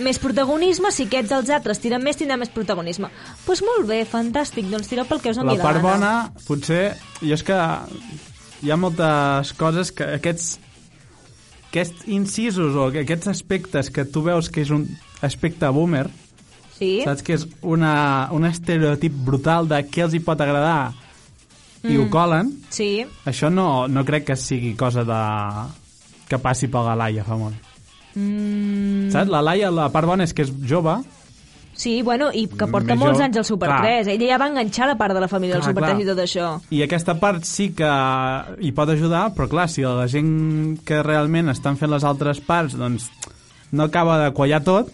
més protagonisme, si aquests els altres tiren més, tindran més protagonisme. Doncs pues molt bé, fantàstic, doncs tireu pel que us doni la la part gana. bona, potser, jo és que hi ha moltes coses que aquests aquests incisos o que- aquests aspectes que tu veus que és un aspecte boomer, Sí? saps que és una, un estereotip brutal de què els hi pot agradar i ho colen, Sí. això no, no crec que sigui cosa de que passi per la Laia fa molt. Mm. Saps? La Laia, la part bona és que és jove, Sí, bueno, i que porta Més molts jo- anys al Super clar. 3. Ella ja va enganxar la part de la família del Clar, Super 3 clar. i tot això. I aquesta part sí que hi pot ajudar, però clar, si la gent que realment estan fent les altres parts doncs no acaba de quallar tot,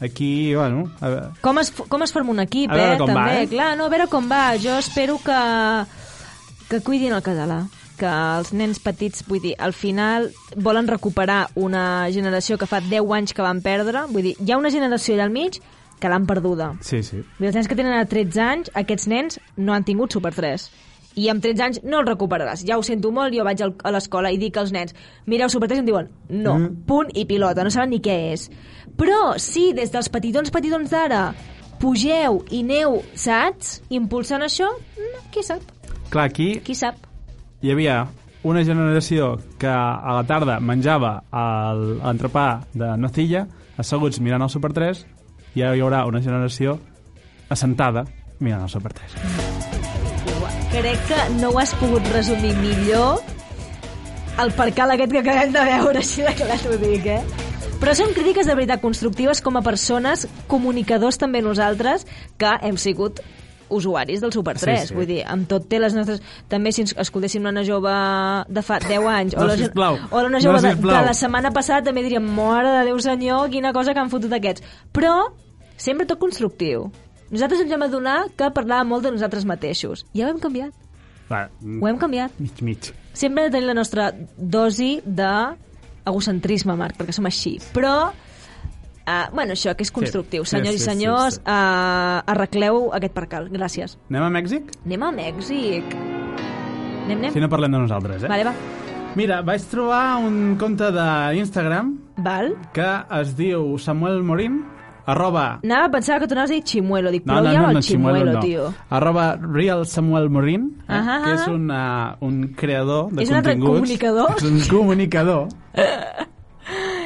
aquí, bueno... A veure, Com es, com es forma un equip, A veure eh? com va, També, eh? clar, no, a veure com va. Jo espero que, que cuidin el català que els nens petits, vull dir, al final volen recuperar una generació que fa 10 anys que van perdre, vull dir, hi ha una generació allà al mig que l'han perduda. sí, sí. Vull dir, Els nens que tenen ara 13 anys, aquests nens no han tingut Super 3. I amb 13 anys no el recuperaràs. Ja ho sento molt, jo vaig al- a l'escola i dic als nens, mireu Super 3 i em diuen, no, Mm. mm. punt i pilota, no saben ni què és. Però sí, des dels petitons petitons d'ara, pugeu i neu, saps? Impulsant això, mm, qui sap, Clar, aquí qui sap. hi havia una generació que a la tarda menjava el- l'entrepà de nocilla, asseguts mirant el Super 3, i ara hi haurà una generació assentada mirant el Super 3. Crec que no ho has pogut resumir millor el percal aquest que acabem de veure, així de clar t'ho dic, eh? Però són crítiques de veritat constructives com a persones, comunicadors també nosaltres, que hem sigut usuaris del Super Sí, 3. sí. Vull dir, amb tot té les nostres... També si ens escoltéssim una jove de fa 10 anys No, la gen- sisplau. o una No, jove de, sisplau. de la setmana passada també diríem, mare de Déu senyor, quina cosa que han fotut aquests. Però sempre tot constructiu. Nosaltres ens vam adonar que parlàvem molt de nosaltres mateixos. Ja ho hem canviat. Va, Ho hem canviat. mig, mig. Sempre hem de tenir la nostra dosi de egocentrisme, Marc, perquè som així. Però, uh, bueno, això, que és constructiu. Sí, Senyors sí, i sí, senyors, sí. Uh, arregleu aquest percal. Gràcies. Anem a Mèxic? Anem a Mèxic. Anem, anem? Si no parlem de nosaltres, eh? Vale, va. Mira, vaig trobar un compte d'Instagram Val. que es diu Samuel Morín, arroba... Anava a pensar que tu anaves a dir Chimuelo. Dic, però ja va el Chimuelo, tio. Arroba Real Samuel Morín, eh, Ahà. que és una, un creador de És un altre continguts. comunicador. És un comunicador.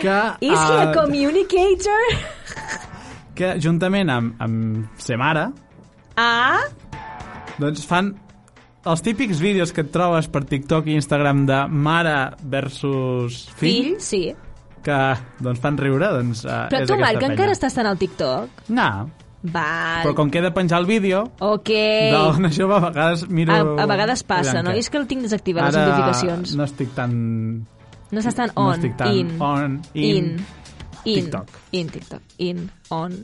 que, Is he a eh, communicator? que juntament amb, amb Semara, Ah, doncs fan els típics vídeos que et trobes per TikTok i Instagram de mare versus fill, fill, sí. que doncs fan riure, doncs eh, Però és tu, aquesta Marc, penya. encara estàs tan al TikTok? No, Val. però com queda penjar el vídeo, Ok. de l'Ona Jove a vegades miro... Eh, A, a vegades passa, no? I és que el tinc desactivat, les notificacions. no estic tan... No estàs tan no on, estic tan in, on, in, in, in, TikTok. in, TikTok, in, on.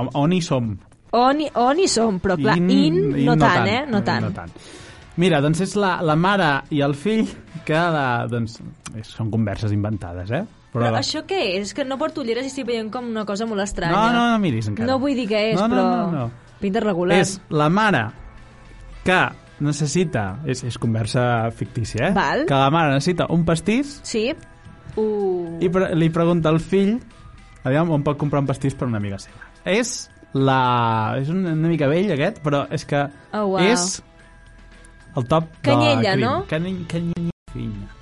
On, on hi som. On, i- on hi som, però Oh, clar, in, no, tant, eh? No tant. No tant. Mira, doncs és la, la mare i el fill que la, doncs, és- són converses inventades, eh? Però això què és? Que no porto ulleres i estic veient com una cosa molt estranya. No, no, no miris encara. No vull dir què és, No, no, però... no, no. Pinta regular. És la mare que necessita... És, és conversa fictícia, eh? Val. Que la mare necessita un pastís Sí? Uh, i pre li pregunta al fill aviam on pot comprar un pastís per una amiga seva. És la... És un, una mica vell, aquest, però és que Oh, wow. és el top Canyella, de crim. no? Canyella, canyella. Canyella.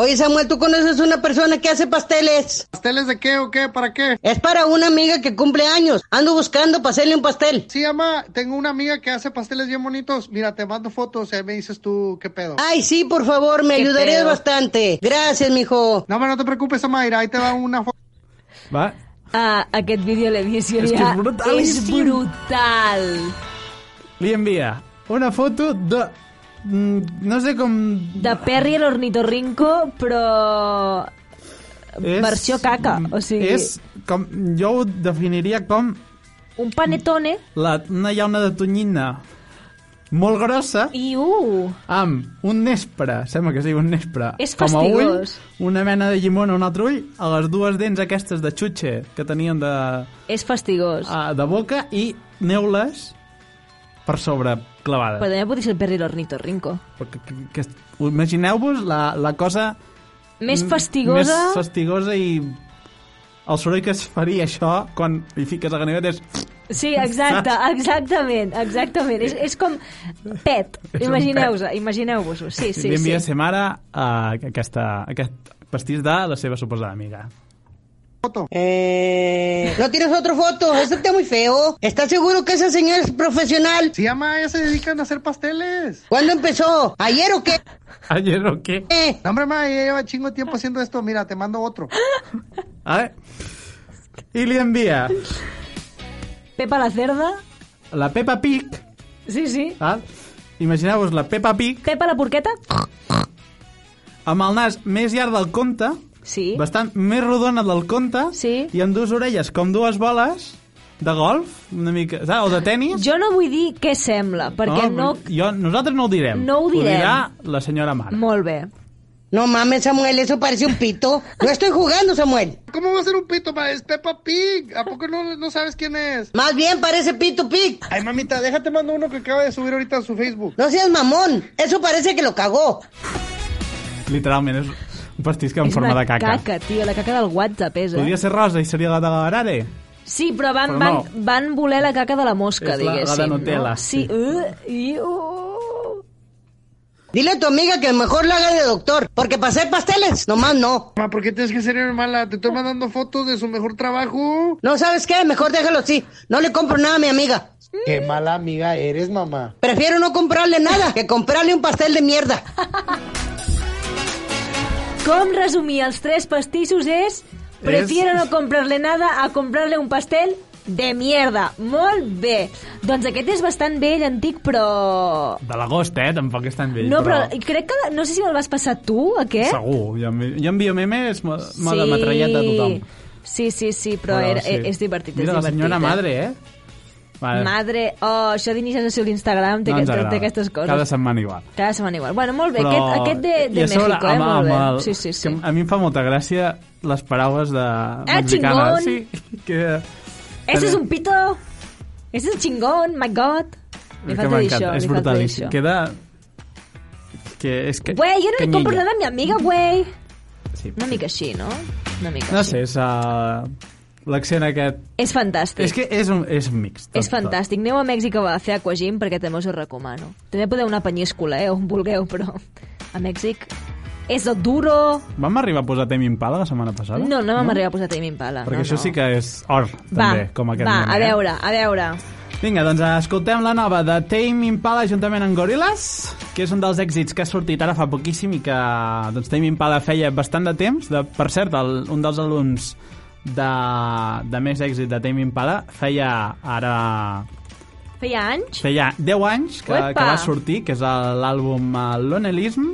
Oye, Samuel, ¿tú conoces una persona que hace pasteles? ¿Pasteles de qué o qué? ¿Para qué? Es para una amiga que cumple años. Ando buscando para hacerle un pastel. Sí, mamá, tengo una amiga que hace pasteles bien bonitos. Mira, te mando fotos y ahí me dices tú qué pedo. Ay, sí, por favor, me Qué ayudarías pedo. bastante. Gracias, mijo. No, pero no te preocupes, Amaira, ahí te va una foto. Va, ah, aquest vídeo l'he vist i És que és brutal, És és bru- brutal. li envia una foto de... mm, No sé com... De Perry a l'ornitorrinco, però... És, mm, versió caca, o sigui- És com... Jo ho definiria com Un panetone la, una llauna de tonyina molt grossa i uh... amb un nespre, sembla que sigui un nespre, És com a ull, fastigós. una mena de llimona a un altre ull, a les dues dents aquestes de xutxe que tenien de, És fastigós. Ah. a- de boca i neules per sobre clavades. Però també podria ser el Perry l'ornitorrinco. Perquè, que, que, imagineu-vos la, la cosa Més m- fastigosa... Mm, més fastigosa i el soroll que es faria això quan hi fiques la ganiveta és... Sí, exacte, exactament, exactament. És, és com pet, És un imagineu-vos, imagineu-vos-ho. Sí, sí, li envia a sí. ser mare a aquesta, aquest pastís de la seva suposada amiga. Eh, no tienes otra foto. Eso está muy feo. ¿Estás seguro que esa señora es profesional? Sí, mamá, ellas se dedican a hacer pasteles. ¿Cuándo empezó? ¿Ayer o qué? Ayer o què? Eh, No, hombre, mamá, ella lleva chingo tiempo haciendo esto. Mira, te mando otro. Vale? I li envia Pepa la cerda, la Peppa Pig, sí, sí. val? imagineu-vos la Peppa Pig Pepa la porqueta, amb el nas més llarg del compte, sí. bastant més rodona del compte, Sí. i amb dues orelles com dues boles de golf, una mica, saps? o de tennis. Jo no vull dir què sembla, perquè no... Jo, nosaltres no ho direm. No ho direm. Ho dirà la senyora mare. Molt bé. no mames, Samuel, eso parece un pito. No estoy jugando, Samuel. ¿Cómo va a ser un pito, para Es Peppa Pig. ¿A poco no, no sabes quién es? Más bien parece pito pig. Ay, mamita, déjate mando uno que acaba de subir ahorita a su Facebook. No seas mamón. Eso parece que lo cagó. Literalment, és un pastís que en és forma una de caca. caca, tio, la caca del WhatsApp és, eh? Podria ser rosa i seria la de l'arare. Sí, però van, Però van, no. van voler la caca de la mosca, És la- la de diguéssim. Nutella, No? Sí, uh, i... Uh. Dile a tu amiga que mejor la haga de doctor, porque para hacer pasteles, nomás no. Mamá, ¿por qué tienes que ser bien mala? Te estoy mandando fotos de su mejor trabajo. No, ¿sabes qué? Mejor déjalo así. No le compro nada a mi amiga. Qué mala amiga eres, mamá. Prefiero no comprarle nada que comprarle un pastel de mierda. Com resumir els tres pastissos és... Prefiero no comprarle nada a comprarle un pastel de mierda. Molt bé. Doncs aquest és bastant vell, antic, però... De l'agost, eh? Tampoc és tan vell. No, però crec que... No sé si el vas passar tu, aquest. Segur. Jo, envi- jo envio memes, mo, mo de metralleta a tothom. Sí, sí, sí, però, era, sí. és divertit, Mira, és la divertit. senyora eh? madre, eh? Vale. Madre, oh, això d'inicis a ser l'Instagram té, ens no agrada. té aquestes coses. Cada setmana igual. Cada setmana igual. Bueno, molt bé, aquest, aquest de, i de a sobre, México, eh? amb- molt bé. amb el- Sí, sí, Ah, és sí. Que a mi em fa molta gràcia les paraules de mexicanes. Sí, que... Ese es un pito. Ese es un chingón, my god. que Li falta dir m'encanta, És això, li falta dir brutalíssim. això. Queda... Que és que... Güey, yo no le canyella. compro nada a mi amiga, güey. Sí. Una mica així, no? Una mica No així. sé, és uh, l'accent aquest... És fantàstic. És que és un, és un mix. Tot, és fantàstic. Aneu a Mèxic a fer aquagym perquè també us ho recomano. També podeu anar a Penyíscola, eh, on vulgueu, però a Mèxic és el duro. Tot. Vam arribar a posar Temi Impala la setmana passada? No, no vam arribar a posar Tame Impala. Perquè no, això no. sí que és or, va, també, com aquest va, moment, a eh? veure, a veure. Vinga, doncs escoltem la nova de Tame Impala juntament amb Gorillaz, que és un dels èxits que ha sortit ara fa poquíssim i que doncs, Tame Impala feia bastant de temps. De, per cert, el, un dels alumns de, de més èxit de Tame Impala feia ara Feia anys? feia 10 anys que, Uepa! que va sortir, que és el- l'àlbum eh, Lonelism,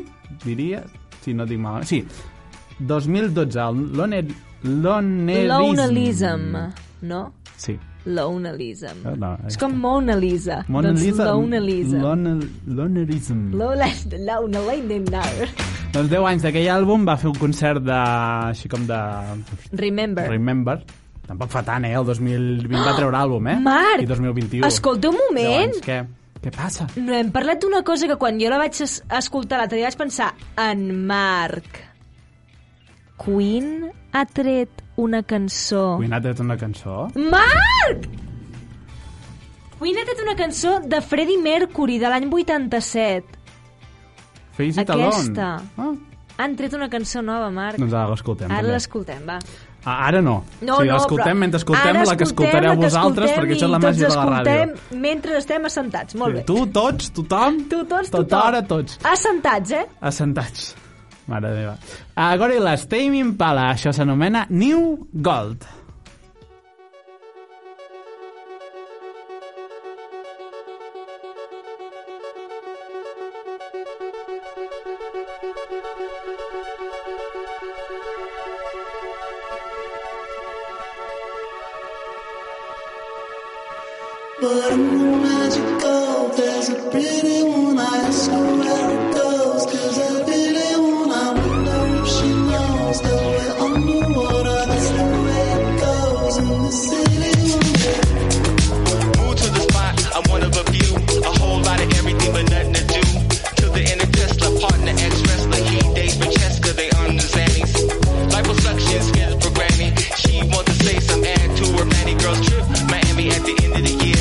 diria, si no dic malament. Sí, 2012, el Lone, Lonelism. Lonelism, no? Sí. Lonelism. Eh, no, és eh. com Mona Lisa. Mona doncs Lisa, Lonelism. Lone- Lonelism. Lone- Lone- Lonelism. Doncs 10 anys d'aquell àlbum va fer un concert de... així com de... Remember. Remember. Tampoc fa tant, eh? El 2020 va treure àlbum, eh? Marc! I 2021. Escolta un moment! Llavors, què? Què passa? No, hem parlat d'una cosa que quan jo la vaig es- escoltar l'altre dia vaig pensar en Marc. Queen ha tret una cançó. Queen ha tret una cançó? Marc! Queen ha tret una cançó de Freddie Mercury de l'any 87. Face it Aquesta. alone. Han tret una cançó nova, Marc. Ah, doncs ara l'escoltem. Ara també. l'escoltem, va. Ah, ara no. o No, sigui, no, l'escoltem però mentre escoltem ara la que escoltem, escoltareu la que vosaltres, escoltem perquè això és i la màgia de la ràdio. Tots escoltem mentre estem assentats, molt bé. Tu, tots, tothom, tu tots, tot tothom. ara, tots, Assentats, eh? assentats. Mare meva. A Gorillaz, Tame Impala, això s'anomena New Gold. But in the magic gold, there's a pretty one. I ask her where it goes, cause I really wanna know if she knows that we're underwater. That's the way it goes in the city. Move to the spot, I'm one of a few. A whole lot of everything but nothing to do. To the inner Tesla, partner, ex-wrestler, he dates Francesca, they understandies. Liposuction skills for granny. She wants to say some add to her many girls trip. Miami at the end of the year.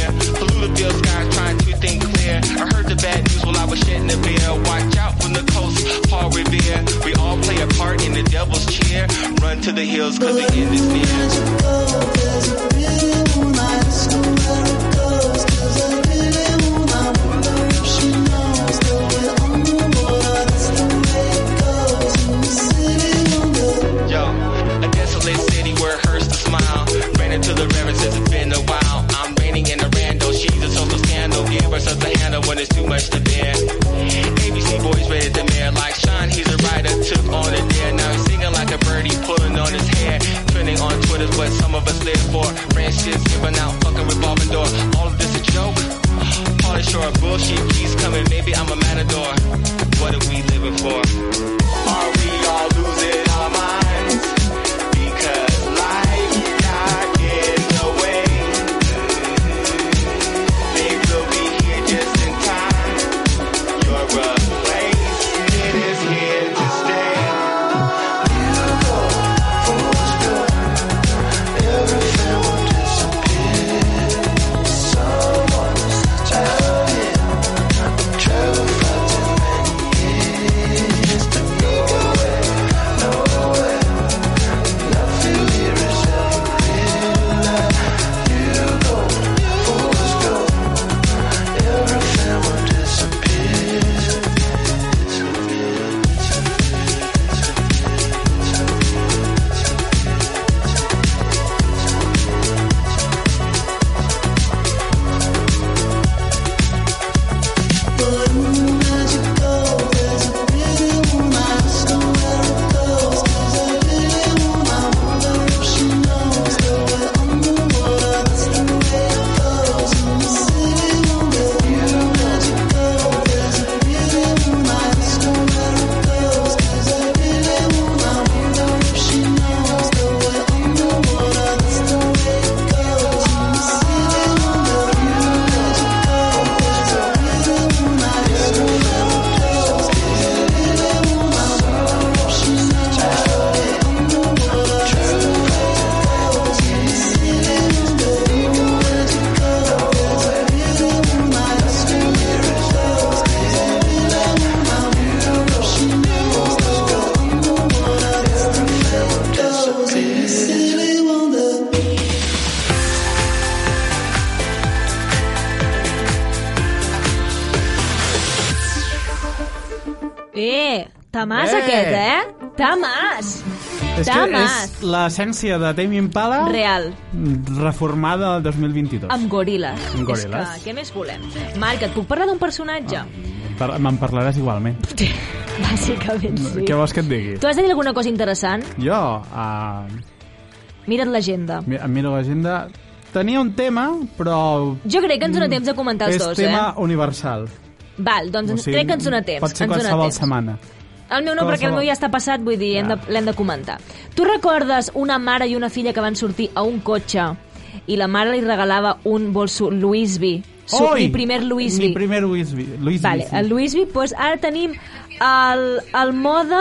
Bluefield sky trying to think clear. I heard the bad news while I was shedding a beer. Watch out from the coast, Paul Revere. We all play a part in the devil's cheer. Run to the hills cause the end is near. There's a pretty one. I ask her where it goes, cause I really wanna know if she knows that we're underwater. That's the way it goes in the city under. Yo, a desolate city where it hurts to smile. Ran into the river since it's been a while. I'm raining in a rando, she's a social scandal. Give herself the handle when it's too much to bear. ABC boys rated the mayor like Sean, he's a writer, took on a dare. Now he's singing like a birdie, pulling on his hair. Trending on Twitter's what some of us live for. Ran shit's giving out, fucking revolving door. All of this a joke. Polish or bullshit keeps coming, maybe I'm a matador. What are we living for? Are we all losing our minds? Because life got in the way. They will be here just in time. You're a place, it is here to stay. But in the magic gold, there's a pretty one. I ask her where it goes, cause I really wanna wonder if she knows that we're underwater. That's the way it goes in the city under. In the magic gold, there's a pretty one. I ask her where it goes, cause I really wanna wonder if she knows that we're underwater. That's the way it goes in the city under. In the magic gold, there's a pretty one. I ask her where it goes, cause I really wanna wonder if she knows that we're underwater. That's the way it goes in the city under. In the magic gold, there's a pretty one. I ask her where it goes, cause I really wanna wonder if she knows that we're underwater. That's the way it goes in the city under. Eh, tamàs Eh! eh. aquest, eh? Tamàs! És que Tamàs! és l'essència de Tame Impala Real, reformada del 2022. amb goril·les. Amb goril·les. Ah. És que, què més volem? Marc, et puc parlar d'un personatge? Par- Me'n parlaràs igualment. Bàsicament sí. Què vols que et digui? Tu has de dir alguna cosa interessant? Jo, uh, Mira't l'agenda. em miro l'agenda... Tenia un tema, però Jo crec que ens dona temps de comentar Mm. els és dos, tema universal. eh? Val, doncs ens- crec que ens dona temps. Pot ser ens dona qualsevol temps. setmana. El meu no, perquè el Qualsevol. meu ja està passat, vull dir, hem de- l'hem de, comentar. Tu recordes una mare i una filla que van sortir a un cotxe i la mare li regalava un bolso Louis V Su, Oi! mi primer Luis Mi V. primer Luis V. Luis Vale, V, el Luis V, doncs ara tenim el, el mode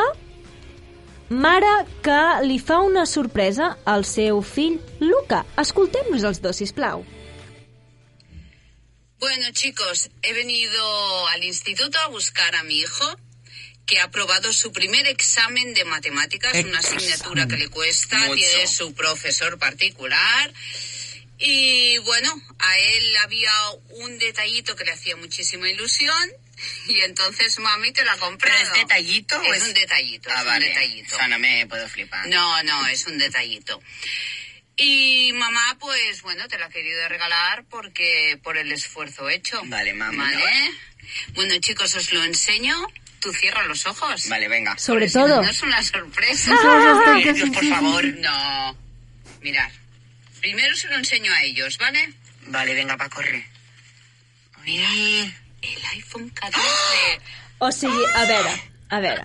mare que li fa una sorpresa al seu fill Luca. Escoltem-los els dos, sisplau. Bueno, chicos, he venido al instituto a buscar a mi hijo que ha aprobado su primer examen de matemáticas, una asignatura que le cuesta, tiene su profesor particular. Y bueno, a él había un detallito que le hacía muchísima ilusión y entonces mami te lo ha comprado. ¿Es detallito? Es, un detallito, Ah, es un Eh, detallito. no me puedo flipar. No, no, es un detallito. Y mamá, pues bueno, te la ha querido regalar porque por el esfuerzo hecho. Vale, mamá. Vale. Bueno, chicos, os lo enseño. Tú cierra los ojos. Vale, venga. Sobre todo. No es una sorpresa. Eso es hasta que- Ellos, por favor. No. Mirad. Primero se lo enseño a ellos, ¿vale? Vale, venga, para correr. Mira el iPhone 14. O sigui, a veure, a veure...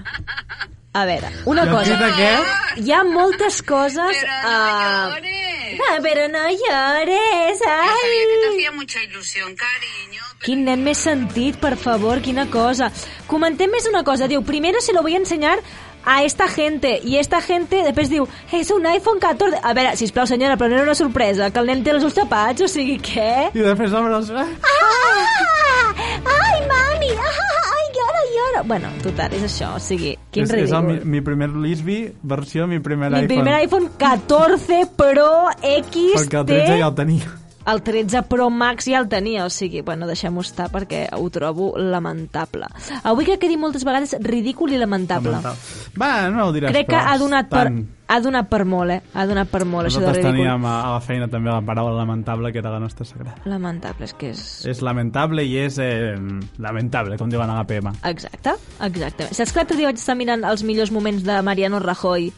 A veure, una I el cosa... tio de què? Hi ha moltes coses... Però no llores! Ah, però no llores, Yo ai! sabía que te hacía mucha ilusión, cariño. Quin nen més sentit, per favor, quina cosa. Comentem més una cosa, diu, primero se lo voy a enseñar a esta gente, i esta gente després diu, és un iPhone 14... A veure, sisplau, senyora, però no era una sorpresa, que el nen té els ulls tapats, o sigui, què? I després obre els... Ah! Ah! Ai, mami! Ah, ai, llora, llora! Bueno, total, és això, o sigui, quin és, és el mi, ridícul. mi primer Luis V, versió mi primer Mi iPhone. primer iPhone 14 Pro X Perquè el 13 ja el tenia. el 13 Pro Max ja el tenia, o sigui, bueno, deixem-ho estar perquè ho trobo lamentable. Avui crec que he dit moltes vegades ridícul i lamentable. lamentable. Va, no ho diràs, Crec que però ha donat, per, tant. ha donat per molt, eh? Ha donat per molt, això de Nosaltres ridícul. teníem a, a la feina també la paraula lamentable, que era la nostra sagrada. Lamentable, és que és... És lamentable i és eh, lamentable, com diuen a la PM. Exacte, exacte. Saps que l'altre dia vaig estar mirant els millors moments de Mariano Rajoy?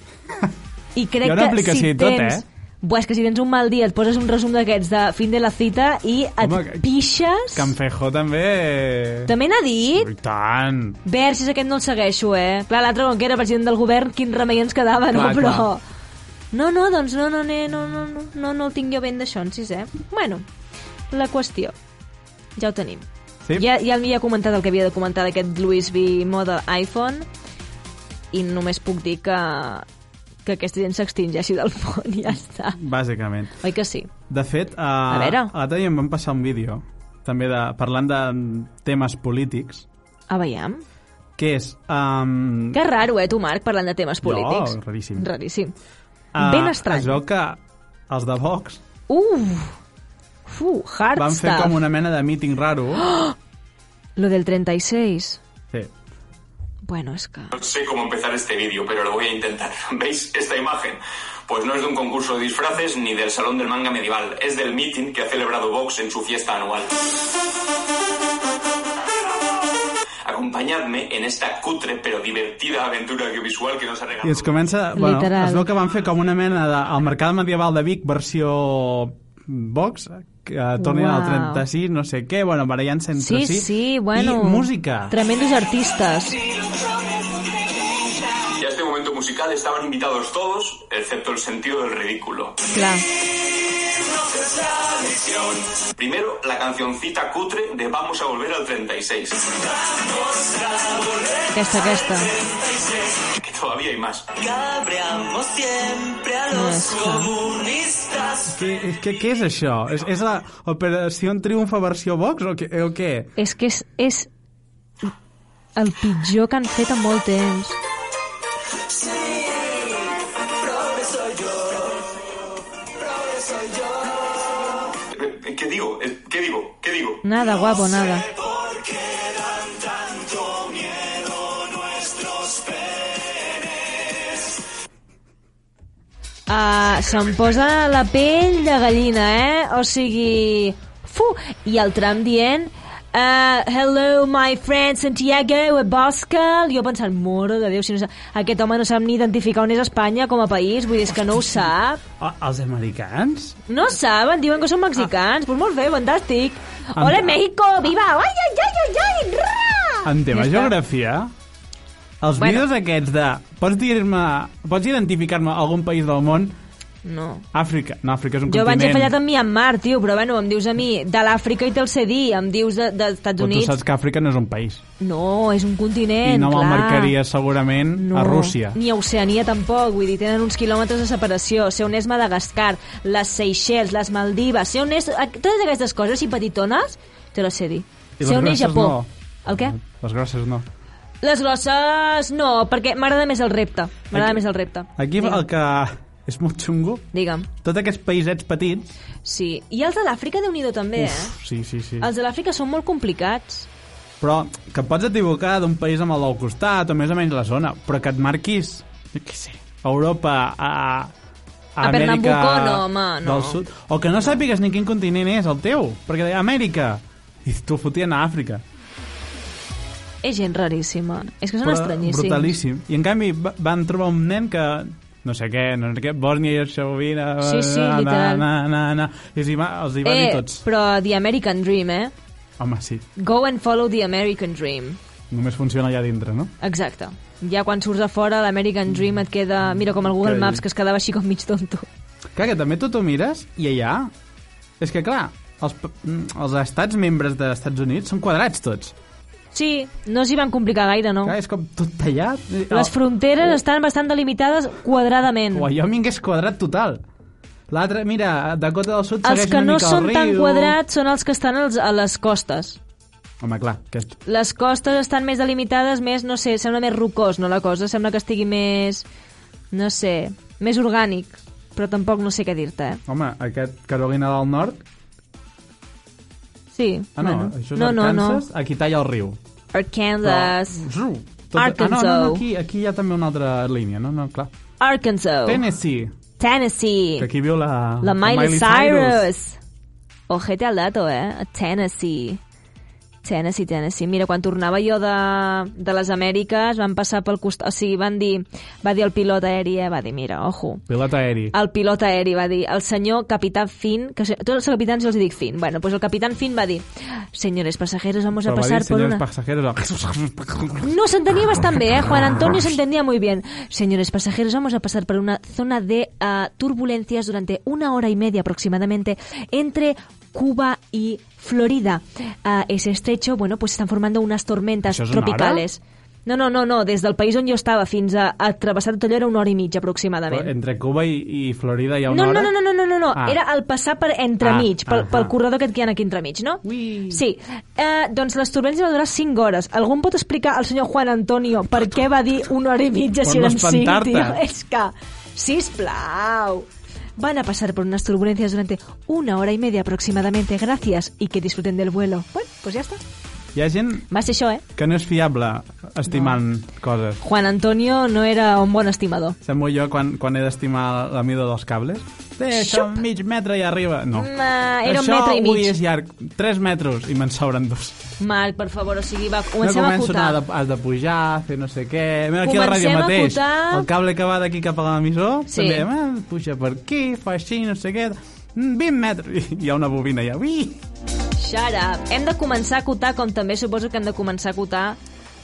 I crec Hi ha una que aplicació i si tot, tens... eh? Buah, és que si tens un mal dia et poses un resum d'aquests de fin de la cita i et Home, que- pixes... Canfejo també... eh, També n'ha dit... I tant! Vers, és aquest no el segueixo, eh? Clar, l'altre, com que era president del govern, quin remei ens quedava, no? Clar, Però... clar. No, no, doncs no, no, ne, no, no, no, no, no el tinc jo ben d'això, en sisè. Bueno, la qüestió. Ja ho tenim. Sí. Ja, ja el Mia ha comentat el que havia de comentar d'aquest Louis V Model iPhone i només puc dir que, que aquesta gent s'extingeixi del món i ja està. Bàsicament. Oi que sí? De fet, uh, A veure. l'altre dia em van passar un vídeo, també de, parlant de mm, temes polítics, A veiem. que és... Um, Que raro, eh, tu, Marc, parlant de temes No, polítics. raríssim. Ah, Raríssim. ben estrany. Es veu que els de Vox Uf! Fu, hard van fer stuff. com una mena de míting raro. ¡Oh! Lo del 36. Sí. Bueno, es que... No sé cómo empezar este vídeo, pero lo voy a intentar. ¿Veis esta imagen? Pues no es de un concurso de disfraces ni del Salón del Manga Medieval, es del meeting que ha celebrado Vox en su fiesta anual. Acompañadme en esta cutre pero divertida aventura audiovisual que nos ha regalado. I es comença... Bueno, Literal. es veu que van fer com una mena de... El mercat medieval de Vic, versió Vox, que tornin al Uau. 36, no sé què, bueno, barallant-se entre Sí, si. sí, bueno. I música. Tremendos artistas. Y a este momento musical estaban invitados todos, excepto el sentido del ridículo. Clar. Primero, la cancioncita cutre de Vamos a volver al 36. Aquesta, aquesta. Que todavía hay más. siempre a No, los és comunistas. Què, què, què és això? És, és la Operació Triunfa versió Vox o què? O què? És que és, és el pitjor que han fet en molt temps. Progre soy yo. Progre soy yo. Eh, ¿Qué digo? Eh, ¿Qué digo? ¿Qué digo? Nada, guapo, nada. ¿Por qué dan tanto miedo nuestros penes? Uh, se'm posa la pell de gallina, eh? O sigui... Fu! I el Trump dient... Uh, hello, my friend Santiago Abascal. Jo pensant, moro de Déu, si no sap... aquest home no sap ni identificar on és Espanya com a país, vull dir, és que no ho sap. Ah, els americans? No saben, diuen que són mexicans. Pues molt bé, fantàstic. Ah. Amb- Hola, México, viva! Ai, ai, ai, ai, ai, ra! En tema Ah, Ja està. geografia, els Bueno. vídeos aquests de... Pots dir-me... Pots identificar-me algun país del món? No. Àfrica. No, Àfrica és un Jo vaig continent. haver fallat amb Myanmar, tio, però bueno, em dius a mi de l'Àfrica i te'l sé dir, em dius de- dels Estats Però tu Units. saps que Àfrica no és un país. No, és un continent, I no clar. me'l marcaria segurament No, a Rússia. Ni a Oceania tampoc, vull dir, tenen uns quilòmetres de separació. Sé on és Madagascar, les Seychelles, les Maldives, sé on és... a- Totes aquestes coses així petitones, te les sé dir. I Sé les on grosses és Japó. no. El què? Les grosses no. Les grosses no, perquè m'agrada més el repte. M'agrada més el repte. Aquí el que és molt xungo, Digue'm. tots aquests paisets petits... Sí. I els de l'Àfrica, déu nhi també, Uf, eh? sí, sí, sí. Els de l'Àfrica són molt complicats. Però que et pots equivocar d'un país amb el del costat o més o menys la zona, però que et marquis, jo què sé, a Europa, a... A Amèrica Pernambuco, no, home, no. Del sud. O que no sàpigues ni quin continent és el teu, perquè deia Amèrica. I t'ho fotien a Àfrica. És gent raríssima. És que són Però estranyíssims. Brutalíssim. I en canvi va- van trobar un nen que no sé què, no sé què, Bòsnia i Hercegovina... Sí, sí, na, literal. Na, na, na, I els hi va, els hi va dir Eh, tots. però The American Dream, eh? Home, sí, Go and follow the American Dream. només funciona allà dintre, no? Exacte. Ja quan surts a fora, l'American Dream et queda... Mira, com el Google Mm. Que- Maps, que es quedava així com mig tonto. Clar, que també tu t'ho mires i allà... És que, clar, els, pa- mm, els estats membres dels Estats Units són quadrats tots. Sí, no s'hi van complicar gaire, no? Clar, és com tot tallat. oh, Les fronteres estan bastant delimitades quadradament. Wyoming és quadrat total. L'altre, mira, Dakota del Sud Els segueix que una no mica són el riu. tan quadrats són els que estan als, a les costes. Home, clar, que... Les costes estan més delimitades, més, no sé, sembla més rocós, no, la cosa? Sembla que estigui més, no sé, més orgànic. Però tampoc no sé què dir-te, eh? Home, aquest Carolina del Nord... Sí. Ah, no, bueno. això és no, no, no. Arkansas. Aquí talla el riu. Arkansas. Però, Arkansas. Ah, no, no, no, aquí, aquí hi ha també una altra línia, no? no clar. Arkansas. Tennessee, Tennessee. que aquí viu la... Oh. La Miley, Cyrus. Ojete al dato, eh? Tennessee. Tennessee, Tennessee. Mira, quan tornava jo de, de les Amèriques, van passar pel costat... O sigui, van dir... Va dir el pilot aeri, eh? Va dir, mira, ojo. Pilot aeri. El pilot aeri va dir, el senyor capitán Finn, que se- tots els capitans jo els dic Finn, bueno, pues el capitán Finn va dir, señores pasajeros, vamos Però a va pasar dir, por senyors oh, una... pasajeros... No, se entendía bastante bien, ¿eh? Juan Antonio se entendía muy bien. Señores pasajeros, vamos a pasar por una zona de ah, turbulencias durante una hora y media aproximadamente entre Cuba y Florida. Ah, ese estrecho, bueno, pues están formando unas tormentas ¿Això és una tropicales. No, no, no, no, des del país on jo estava fins a, a travessar tot allò era una hora i mitja aproximadament. Entre Cuba i, i Florida hi ha una No, no, hora? no, no, no, no, no, no. Ah. era el passar per entremig, Ah, pel, pel ahà. corredor aquest que hi ha aquí entremig, no? Sí. Eh, doncs les turbulències van durar 5 hores. Algú em pot explicar al senyor Juan Antonio per què va dir una hora i mitja si Per no eren 5, espantar-te. tio? És que, sisplau... Van a pasar por unas turbulencias durante una hora y media aproximadamente. Gracias y que disfruten del vuelo. Bueno, pues ya está. Hi ha gent Va ser això, eh? que no és fiable estimant coses. Juan Antonio no era un bon estimador. Semblo jo quan, quan he d'estimar la mida dels cables. Deixa un mig metre i arriba. No. Mm, ah, era un Això metre i avui mig. és llarg. 3 metres i me'n sobren dos. Marc, per favor, o sigui, va, no comencem a començo, no, acotar. has de, has de pujar, fer no sé què... Mira, aquí a la Comencem ràdio a mateix, acotar. el cable que va d'aquí cap a l'emissor, Sí. també, eh, puja per aquí, fa així, no sé què... Mm, 20 metres! I hi ha una bobina ja. Ui! Shut up. Hem de començar a acotar, com també suposo que hem de començar a acotar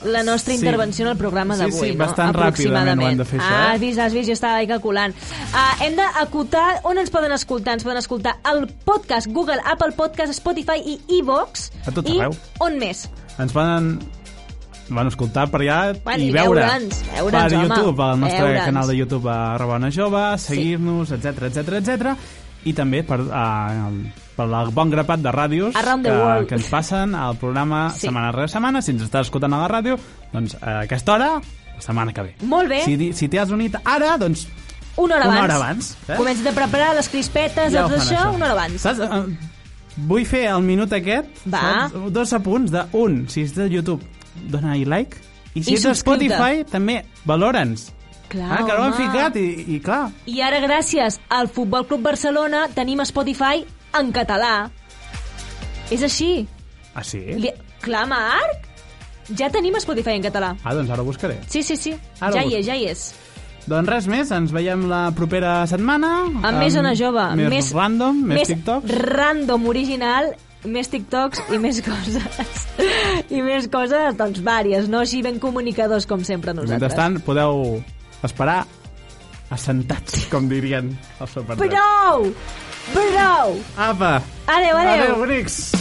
la nostra Sí. intervenció en el programa Sí, d'avui. sí, no? bastant ràpidament ho hem de fer, això, Ah, eh? has vist, has vist, jo estava ahí calculant. Uh, hem d'acotar on ens poden escoltar. Ens poden escoltar el podcast, Google, Apple Podcast, Spotify i iVox. A tot I arreu. on més? Ens van... Van escoltar per allà Bueno, i i veure veure'ns, veure'ns, per home, YouTube, al nostre veure'ns. canal de YouTube a Rebona Jove, seguir-nos, etc etc etc i també per, a, per el bon grapat de ràdios Around the que, world. que ens passen al programa Sí. setmana rere setmana. Si ens estàs escoltant a la ràdio, doncs a aquesta hora, la setmana que ve. Molt bé. Si, di- si t'hi has unit ara, doncs... Una hora Una abans. hora abans, eh? Comences a preparar les crispetes, Ja ho tot fan, això, això. una hora abans. Saps, eh, vull fer el minut aquest, Va. saps? dos apunts de un, si és de YouTube, dona-hi like, i si I ets a subscriu-te. Spotify, també valora'ns. Clar, ah, que no ho han home. ficat, i, i clar, I ara, gràcies al Futbol Club Barcelona, tenim Spotify en català. És així. ah, sí? Li... Clar, Marc? Ja tenim Spotify en català. Ah, doncs ara ho buscaré. Sí, sí, sí. Ara ja ho hi és, ja hi és. Doncs res més, ens veiem la propera setmana. Amb més zona jove. Més, més random, més, més TikToks. random original, més TikToks i més coses. I més coses, doncs, vàries, no? Així ben comunicadors, com sempre, nosaltres. Mentrestant, podeu esperar assentats, com dirien els supertats. Prou! Prou! Apa! Adeu, adeu. Adeu, bonics!